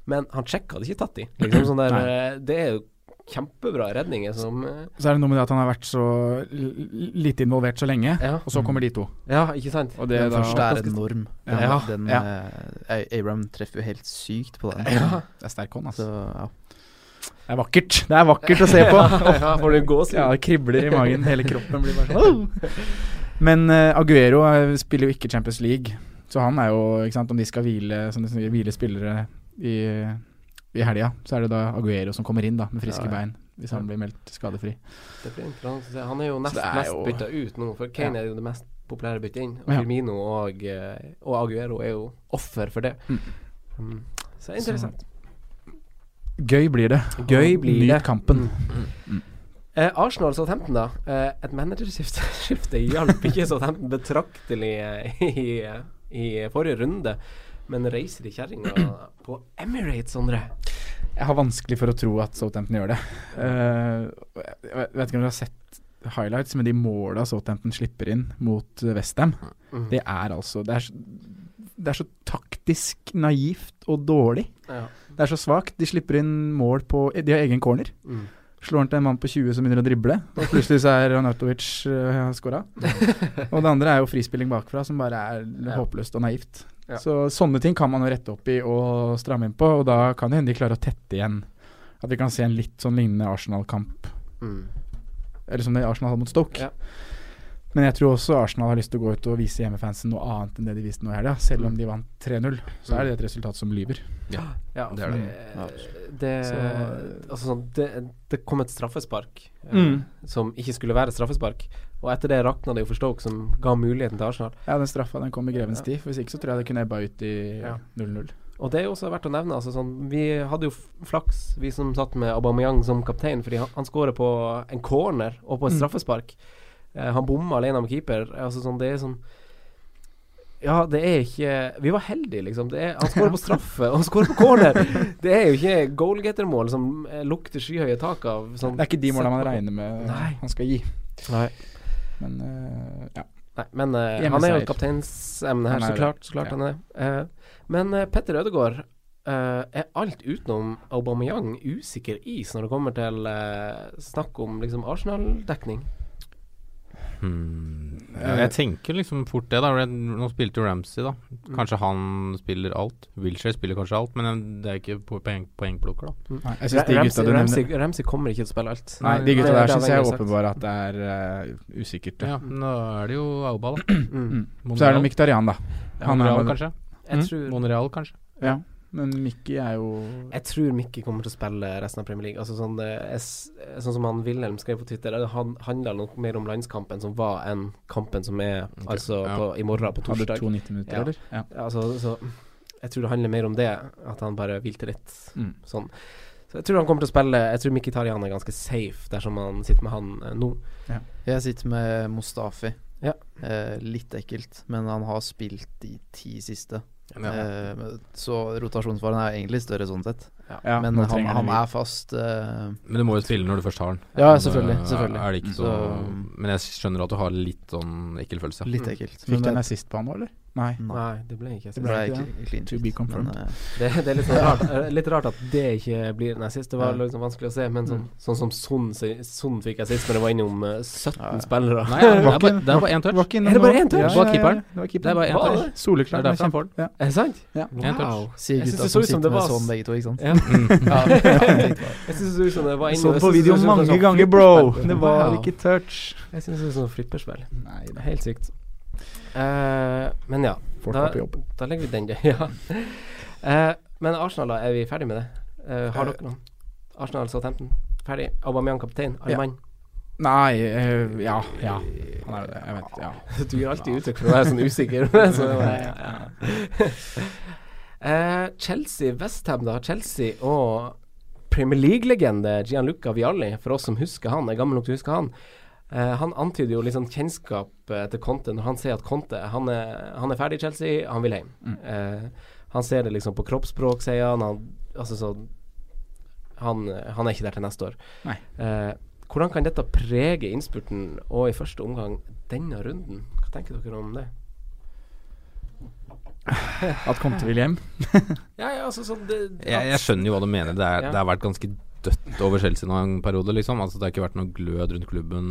B: men han sjekka hadde ikke tatt de. Liksom sånn der,
E: Nei.
B: eh, det er jo kjempebra redninger som eh,
E: Så er det noe med det at han har vært så l- l- lite involvert så lenge,
B: Ja,
E: og så kommer de to.
B: ja ikke sant?
E: Og det
D: den
E: da
D: første er
E: ganske-
D: enorm. Den,
E: Ja,
D: den,
E: ja.
D: eh, A- Abraham treffer jo helt sykt på den.
E: Ja, det er sterk hånd,
D: Så
E: altså.
D: ja.
E: Det er vakkert. Det er vakkert å se på.
B: [LAUGHS] ja, får du gåsehud?
E: Ja, det kribler i magen. Hele kroppen blir bare sånn
B: [LAUGHS]
E: Men eh, Aguero eh, spiller jo ikke Champions League, så han er jo ikke sant, Om de skal hvile, som de sier, hvile spillere i, i helga, så er det da Aguero som kommer inn da med friske
D: Ja, ja.
E: bein, hvis han blir meldt skadefri.
B: Det blir interessant å se. Han er jo nest
E: det er
B: mest
E: jo-
B: bytta ut nå, for Kane er jo det mest populære byttet inn. Og
E: Ja.
B: Firmino og, eh, og Aguero er jo offer for det.
E: Mm.
B: Mm. Så det er interessant.
E: Gøy blir det.
B: Gøy blir
E: Nyt
B: det. Mm.
E: kampen.
B: Eh, Arsenal Southampton, da. Eh, et managerskifte [LAUGHS] skifte hjalp ikke Southampton betraktelig eh, i, eh, i forrige runde. Men reiser de
E: [CLEARS THROAT]
B: kjerringa på Emirates, Sondre?
E: Jeg har vanskelig for å tro at Southampton gjør det. Eh, jeg vet ikke om du har sett highlights, men de måla Southampton slipper inn mot eh, Westham,
B: Mm.
E: det er altså det er, så- det er så taktisk naivt og dårlig.
B: Ja.
E: Det er så svakt. De slipper inn mål på De har egen corner.
B: Mm.
E: Slår han til en mann på 20 som begynner å drible, og plutselig så er Arnautovic uh, skåra.
B: [LAUGHS]
E: Og det andre er jo frispilling bakfra, som bare er
B: Ja.
E: håpløst og naivt.
B: Ja.
E: Så sånne ting kan man jo rette opp i og stramme inn på, og da kan det hende de klarer å tette igjen. At vi kan se en litt sånn lignende Arsenal-kamp,
B: Mm.
E: eller som det Arsenal hadde mot Stoke.
B: Ja.
E: Men jeg tror også Arsenal har lyst til å gå ut og vise hjemmefansen noe annet enn det de viste nå i helga. Selv om de vant 3-0, så er det et resultat som lyver.
B: Ja,
C: Det er
B: for
E: det.
B: Det, det,
E: Så-
B: altså, sånn, det, det kom et straffespark eh,
E: Mm.
B: som ikke skulle være straffespark. Og etter det rakna det jo for Stoke, som ga muligheten til Arsenal.
E: Ja, den straffa den kom i grevens tid. Hvis ikke så tror jeg det kunne ebba ut i
B: Ja.
E: 0-0.
B: Og det er jo også verdt å nevne. Altså, sånn, vi hadde jo f- flaks, vi som satt med Aubameyang som kaptein, fordi han, han skårer på en corner og på et
E: Mm.
B: straffespark. Eh, han bomma alene med keeper. Altså, sånn, det er sånn ja, det er ikke Vi var heldige, liksom. Det er, han skårer på straffe, og han skårer på corner! Det er jo ikke goalgetter-mål som eh, lukter skyhøye tak av. Sånn,
E: Det er ikke de måla man
B: sett på-
E: regner med
B: Nei.
E: han skal gi.
B: Nei.
E: Men eh, ja.
B: Nei, men eh,
E: Hjemmeseier.
B: han er jo kapteinsemne her,
E: Han
B: så
E: er det.
B: klart, så klart
E: Ja.
B: han er det. Eh, men eh, Petter Ødegaard, eh, er alt utenom Aubameyang usikker is når det kommer til eh, snakk om liksom Arsenal-dekning?
C: Hmm. Ja, Jeg tenker liksom fort det, da. Red- Nå spilte jo Ramsey, da.
B: Mm.
C: Kanskje han spiller alt. Wilshere spiller kanskje alt, men eh, det er ikke po- poeng, poengplukker, da.
E: Nei, jeg syns de gutta
B: Ramsey,
E: du
B: Ramsey,
E: nevner
B: Ramsey kommer ikke til å spille alt.
E: Nei, de
B: Det-
E: gutta der
B: det har
E: syns jeg er
B: Wenger sagt.
E: åpenbare at det er eh, usikkert. Ja.
C: Ja, men da er det jo Auba, da.
B: Mm.
E: Så er det Miktarian, da. han er-
C: Monreal, kanskje.
E: Mm.
B: Jeg, tror,
C: Monreal, kanskje.
E: Ja. Men Mikki er jo
B: jeg tror Mikke kommer til å spille resten av Premier League. Altså sånn, eh, jeg s- eh, sånn som han Wilhelm skrev på Twitter, det han handla nok mer om landskampen som var, enn kampen som er
C: Ok,
B: altså
C: ja.
B: på, i morgen, på
E: Hadde
B: torsdag.
E: 92 minutter,
B: Ja.
E: eller? Ja.
B: Ja, Altså, så jeg tror det handler mer om det, at han bare vilter litt.
E: Mm.
B: Sånn. Så jeg tror han kommer til å spille Jeg tror Mkhitarian er ganske safe dersom han sitter med han eh, nå.
D: Jeg sitter med Mustafi.
B: Ja.
D: Eh, litt ekkelt, men han har spilt de ti siste.
C: Ja.
D: Eh, men- så rotasjonsfaren er egentlig større sånn sett.
E: Ja,
D: men
E: nå
D: han,
E: trenger
D: han
E: de-
D: er fast. Eh,
C: Men du må jo spille når du først har den.
D: Ja,
C: Men,
D: selvfølgelig,
C: eh,
D: selvfølgelig.
C: Er det ikke så,
D: Så-
C: Men jeg skjønner at du har litt sånn ekkel følelse.
D: litt
B: Mm.
D: ekkelt.
E: Fikk
D: Men
E: du en
D: det,
E: assist på han nå, eller? Nei.
D: Nei.
B: Nei, det ble ikke sist.
E: Det
D: Det ble
E: ble ikke
D: ikke clean
E: To
D: sheet,
E: be confirmed.
D: men, eh,
B: Det, det er litt, sånn
E: [LAUGHS]
B: rart, eh, litt rart at det ikke blir Nei, sist det var
D: Ja.
B: liksom vanskelig å se, men sånn,
E: Mm.
B: sånn som Son, si- Son fikk jeg sist, når det var innom eh, 17
D: Ja, ja.
B: spillere.
C: Nei, det er
E: Var ikke-
C: bare, det er bare én touch.
E: Var ikke innom
B: Er det
E: nå.
B: bare én touch?
E: Ja,
C: Bak
E: ja, ja,
C: keeperen?
E: Det var
C: Det er
E: keeperen.
C: bare én
B: Hva?
C: touch.
E: Soleklart.
C: Det er derfor
E: men
C: han får den.
E: kjempe- Ja.
B: Er det sant?
E: Ja.
C: En touch.
B: Wow.
D: Sier
B: Jeg synes
D: gutta
B: det så
D: som
B: ut som det
D: sitter med
B: var s-
D: sånn begge to, ikke sant?
B: [LAUGHS] Ja.
D: Ja, jeg tenkte bare,
B: Jeg syns det så ut som det sånn var
E: Så
B: innom
E: den på video mange ganger, bro. [LAUGHS] Det var
B: Wow.
E: ikke touch.
B: Jeg syns det er sånn flipperspill.
E: Nei,
B: Det er Helt sykt. Eh, men ja,
E: Folk
B: Da-
E: var på jobb.
B: da legger vi den der. [LAUGHS] Ja. Eh, men Arsenal, da, er vi ferdig med det? Eh, har dere noe? Arsenal Southampton, ferdig. Aubameyang kaptein, alle
E: Ja.
B: mann.
E: Nei, eh, ja. Ja. Han er det. Jeg vet ja.
B: Du gir alltid uttrykk for å være sånn usikker. [LAUGHS] så, ja, ja. [LAUGHS] Eh, Chelsea, Westham, da. Chelsea og Premier League-legende Gianluca Vialli, for oss som husker han, er gammel nok til å huske han. Eh, han antyder jo litt sånn kjennskap eh, til Conte når han sier at Conte han er, han er ferdig i Chelsea, han vil hjem. Eh, han ser det liksom på kroppsspråk, sier han. han altså sånn han, han er ikke der til neste år.
E: Nei.
B: Eh, hvordan kan dette prege innspurten og i første omgang denne runden? Hva tenker dere om det?
E: At Conte vil hjem.
B: Ja, ja, altså sånn det,
C: Jeg, jeg skjønner jo hva du mener. Det, er,
B: Ja.
C: det har vært ganske dødt over Chelsea nå en periode, liksom. Altså, det har ikke vært noe glød rundt klubben.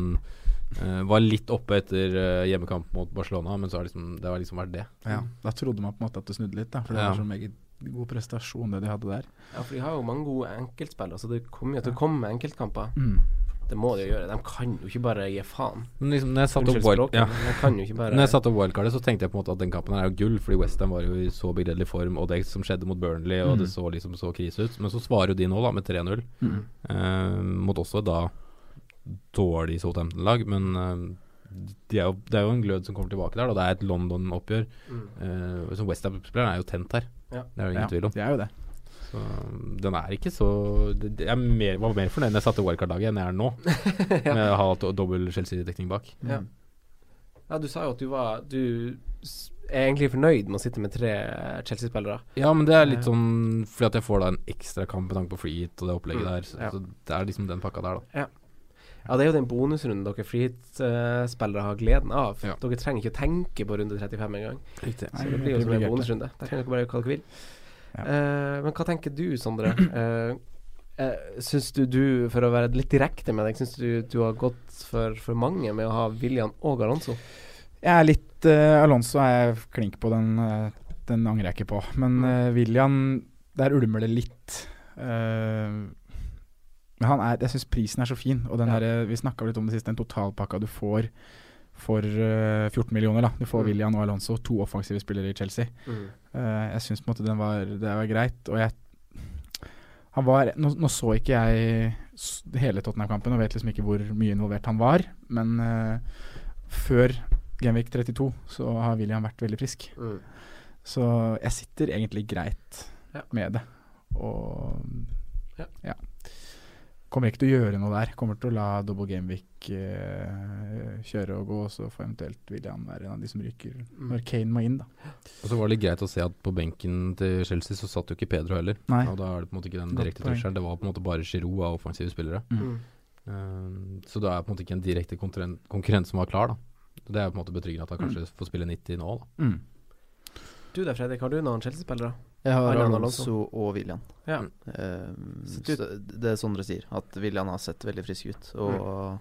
C: Eh, var litt oppe etter eh, hjemmekamp mot Barcelona, men så har liksom, det har liksom vært det.
E: Ja. Da trodde man på en måte at det snudde litt, da. For det
C: Ja.
E: var så meget god prestasjon, det de hadde der.
B: Ja, for de har jo mange gode enkeltspillere, så det kommer jo til å komme enkeltkamper.
E: Mm.
B: Det må de jo gjøre. De kan jo ikke bare gi faen.
C: Men liksom, når jeg satte
B: Unnskyld
C: opp wild,
B: språket,
C: ja.
B: men de kan jo ikke bare
C: Når jeg satte opp wildcardet, så tenkte jeg på en måte at den kampen her er jo gull, fordi Westham var jo i så begredelig form, og det som skjedde mot Burnley, og det så liksom så krise ut. Men så svarer jo de nå, da, med 3-0,
E: Mm.
C: eh, mot også da dårlig Southampton-lag, men eh, de er jo, det er jo en glød som kommer tilbake der, og det er et London-oppgjør.
B: Mm.
C: Eh, som Westham-spilleren er jo tent her,
B: Ja.
C: det er det ingen
E: Ja,
C: tvil om.
E: det er jo det.
C: Så um, den er ikke så det- det- Jeg er mer, var mer fornøyd når jeg satte wildcard-laget enn jeg er nå,
B: [LAUGHS]
C: med å ha do- dobbel Chelsea-dekning bak.
B: Ja. ja, du sa jo at du var Du s- er egentlig fornøyd med å sitte med tre Chelsea-spillere.
C: Ja, men det er litt
B: Ja.
C: sånn fordi at jeg får da en ekstra kamp med tanke på free hit og det opplegget
B: Mm,
C: der. Så,
B: ja.
C: så det er liksom den pakka der, da.
B: Ja, det er jo den bonusrunden dere freehit-spillere har gleden av.
C: Ja.
B: Dere trenger ikke å tenke på runde 35 engang.
C: Riktig.
E: Nei,
B: Så det blir jo
E: det
B: som
E: blir
B: en
E: gøy.
B: bonusrunde. Der kan dere bare gjøre hva dere vil.
E: Ja.
B: Eh, men hva tenker du, Sondre? Eh, eh, syns du du, for å være litt direkte med deg, syns du du har gått for, for mange med å ha William og Alonso?
E: Jeg er litt eh, Alonso er jeg klink på, den, eh, den angrer jeg ikke på. Men
B: Mm.
E: eh, William, der ulmer det litt. Eh, men han er, jeg syns prisen er så fin, og den
B: Ja.
E: derre- vi snakka litt om det sist, den totalpakka du får for eh, 14 millioner, da. Du får
B: Mm.
E: William og Alonso, to offensive spillere i Chelsea. Eh, jeg syns på en måte den var, det var greit, og jeg han var, nå, nå så ikke jeg s- hele Tottenham-kampen og vet liksom ikke hvor mye involvert han var, men eh, før Genvik 32 så har William vært veldig frisk.
B: mm,
E: Så jeg sitter egentlig greit
B: Ja.
E: med det. Og
B: Ja.
E: ja. Kommer ikke til å gjøre noe der. Kommer til å la Double Genvik eh, kjøre og gå, og så får eventuelt William være en av de som ryker når Kane må inn, da.
C: Og så var det litt greit å se at på benken til Chelsea så satt jo ikke Pedro heller.
E: Nei.
C: Og da er det på en måte ikke den
E: Godt
C: direkte
E: poeng.
C: trusselen. Det var på en måte bare Giroud av offensive spillere.
B: mm.
E: mm.
C: Um, så det er på en måte ikke en direkte konkurrent, konkurrent som var klar, da. Det er på en måte betryggende at han kanskje får spille 90 nå, da.
E: Mm.
B: Du da, Fredrik, har du noen Chelsea-spillere?
D: Jeg har
B: Alonso.
D: Alonso og William.
B: Ja.
D: Ehm,
B: Så du-
D: så det er Sondre sier, at William har sett veldig frisk ut. Og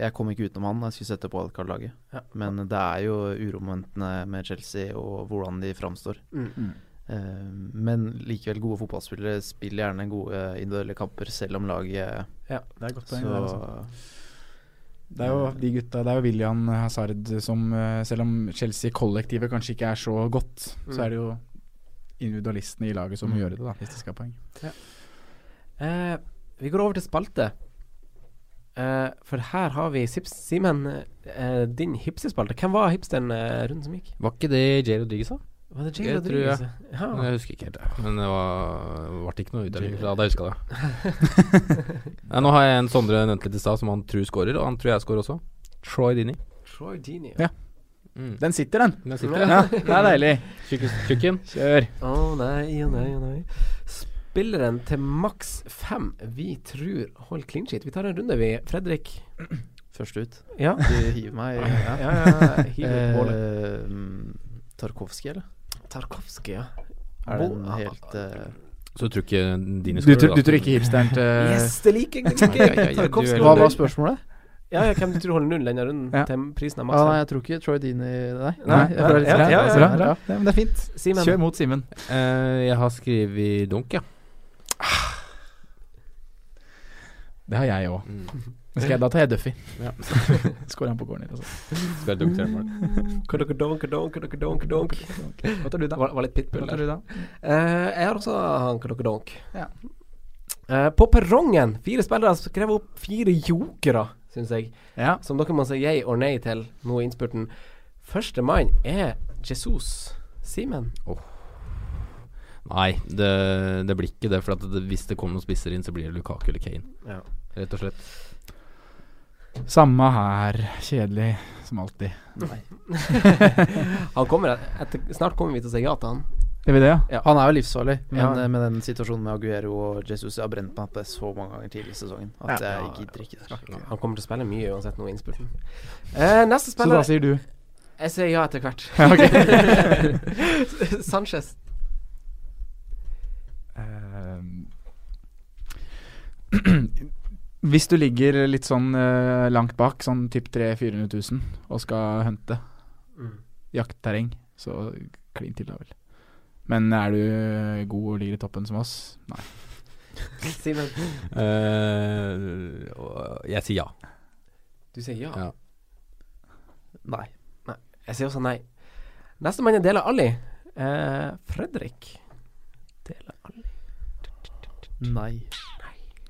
D: jeg kom ikke utenom han, jeg skulle sette på wildcard-laget.
B: Ja.
D: Men det er jo uromomentene med Chelsea og hvordan de framstår.
B: Mm.
E: Mm.
D: Ehm, men likevel, gode fotballspillere spiller gjerne gode individuelle kamper, selv om laget
B: Ja.
E: Det er godt
D: Så
E: poeng. det, altså. Det er jo de gutta, det er jo William Hazard som eh, Selv om Chelsea-kollektivet kanskje ikke er så godt,
B: Mm.
E: så er det jo individualistene i laget som må
D: Mm.
E: gjøre det, da, hvis de skal ha poeng.
B: Eh, vi går over til spalte. Eh, for her har vi Sips Simen, eh, din hipsterspalte. Hvem var hipsteren eh, runden som gikk?
C: Var ikke det Jay Rodriguez, da?
B: Var det
C: Jeg tror jeg-
B: Rodriguez? Ja.
C: Jeg husker ikke helt, det. men det var, ble ikke noe uttelling fra da jeg huska det. [LAUGHS] Nei, nå har jeg en Sondre nevnte litt i stad, som han tror scorer, og han tror jeg scorer også. Troy Dini.
B: Troy Dini.
E: Ja. Den sitter, den!
C: Den
B: sitter,
C: sitter,
B: ja.
C: Mm. ja.
E: Ja, det er deilig.
C: Tjukken.
E: Kjør.
B: Å nei, å nei, å nei. Spilleren til maks fem vi tror holder clean sheet. Vi tar en runde, vi. Fredrik.
D: Først ut.
B: Ja.
D: Du [LAUGHS] hiver meg. Ja.
E: Eh,
B: ja, ja, hiv ut målet.
D: Ehm, Tarkovskij, eller?
B: Tarkovskij, ja.
D: Er den
B: Bo-
D: helt eh,
C: Så du tror ikke dine
E: Du,
C: scorer,
E: tror-
C: da?
E: du tror ikke hipsteren til
B: Yes, det liker jeg!
E: [LAUGHS]
B: det liker
C: Ja, ja, ja,
B: jeg.
C: ja,
B: Tarkovskij
C: du er-
D: Hva
B: holder null.
D: var spørsmålet?
B: Ja, ja, hvem du tror holder null denne runden?
E: Ja.
B: Tem- Prisen er
D: Ah, nei,
B: maks.
D: jeg tror ikke Troy Dini Nei.
E: Nei, jeg tror det er litt
B: Ja, ja,
E: ja,
B: ja,
E: bra.
D: ja.
E: bra. Ja, men det er fint.
B: Simen.
E: Kjør mot Simen.
C: Eh, jeg har skrevet dunk, ja.
E: Det har jeg òg.
C: Mm.
E: Da tar jeg Duffy.
C: Ja.
E: [LAUGHS] Skårer han på corner. Altså.
C: Spiller dunk til mål.
B: Kadokadonk, kadokadonk, kadonk.
E: Hva tar du, da?
B: Var, var litt pitbull
E: Hva
B: der.
E: tar du da?
B: Eh, jeg har også han kadokadonk.
E: Ja.
B: Eh, på perrongen, fire spillere har skrevet opp fire jokere, syns jeg,
E: Ja.
B: som dere må si yay og nei til nå i innspurten. Førstemann er Jesus. Simen.
C: Nei, det, det blir ikke det. For at det, hvis det kommer noen spisser inn, så blir det Lukaku eller Kane.
B: Ja.
C: Rett og slett.
E: Samme her. Kjedelig som alltid.
B: Han kommer et- etter, snart kommer vi til å si ja til han.
E: Gjør vi det, ja?
D: Han er jo livsfarlig, men
B: Ja.
D: eh, med den situasjonen med Aguero og Jesus Jeg har brent meg på det så mange ganger tidligere i sesongen at
B: Ja.
D: jeg gidder ikke det.
B: Han kommer til å spille mye uansett nå i innspurten. Eh, neste
E: Så da
B: spiller
E: sier du
B: Jeg sier ja etter hvert.
E: Ja,
B: [LAUGHS]
E: ok.
B: Sanchez.
E: Ehm, Eh, [CLEARS THROAT] Hvis du ligger litt sånn eh, langt bak, sånn typ 300 000-400 000, og skal hunte
B: Mm.
E: jaktterreng, så klin til, da vel. Men er du god og ligger i toppen som oss? Nei.
B: Simen,
C: Eh, og jeg sier ja.
B: du sier ja.
C: Ja.
D: Nei.
B: Jeg sier også nei. Nestemann er Dela Alli. Eh, Fredrik. Dela Alli
D: Nei.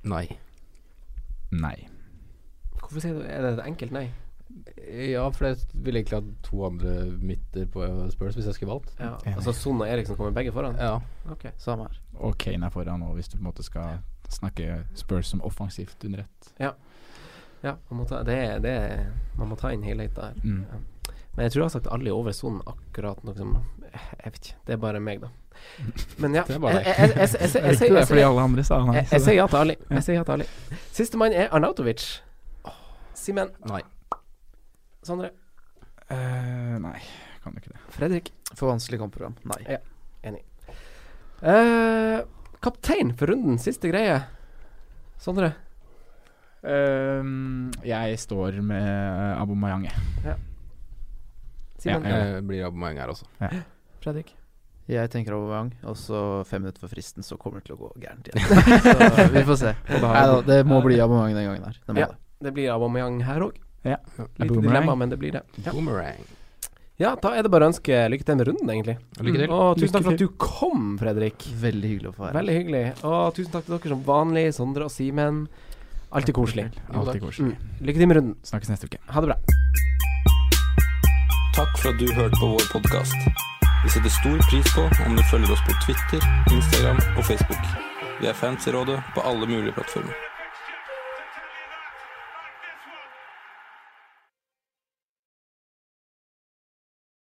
C: Nei.
E: Nei.
B: Hvorfor sier du Er det et enkelt nei?
C: Ja, for jeg ville egentlig hatt to andre midter på Spurs hvis jeg skulle valgt.
B: Ja. Altså Son og Eriksen kommer begge foran?
C: Ja.
B: Ok.
D: Samme her.
E: Og Kane er foran nå, hvis du på en måte skal snakke Spurs som offensivt under ett.
B: Ja, man må ta, det, er- det, er- man må ta inn helheten her.
E: Mm.
B: Men jeg tror jeg har sagt alle over sonen akkurat noe som Jeg vet ikke. Det er bare meg, da. Men ja.
C: Det er bare deg.
B: jeg- jeg- jeg- jeg- jeg-
E: Det
B: jeg-
E: er
B: jeg-
E: ikke det, fordi
B: jeg-
E: alle andre sa nei.
B: jeg- Jeg
E: så
B: sier
E: det-
B: ja til Ali. Jeg sier ja til Ali. Sistemann er Arnautovic. Simen,
C: Nei.
B: Sondre,
E: Eh, nei, kan jo ikke det.
B: Fredrik.
D: For vanskelig kampprogram. Nei.
B: Ja. Eh, kaptein for runden, siste greie. Sondre.
E: Ehm, jeg står med Abomayang, jeg.
B: Simen.
E: Ja, ja.
C: Eh, blir abonnement her også.
B: Fredrik.
D: Jeg tenker over gang, og så fem minutter før fristen, så kommer det til å gå gærent [LAUGHS] igjen. Så vi får se. Nei da, det må bli abonnement den gangen her. Det må
B: Ja.
D: det.
B: Det blir Aubameyang her òg. Litt
E: Aubameyang.
B: dilemma, men det blir det. Ja.
C: Boomerang.
B: ja, da er det bare å ønske lykke til med runden, egentlig.
C: Lykke til.
B: Og tusen
E: Lykke
B: takk for at
E: til.
B: du kom, Fredrik.
D: Veldig hyggelig å få være her.
B: Veldig hyggelig. Og tusen takk til dere som vanlig, Sondre og Simen. Alltid koselig.
E: Alltid koselig.
B: Mm. Lykke til med runden.
E: Snakkes neste uke.
B: Ha det bra.
A: Takk for at du hørte på vår podkast. Vi setter stor pris på om du følger oss på Twitter, Instagram og Facebook. Vi er fans i rådet på alle mulige plattformer.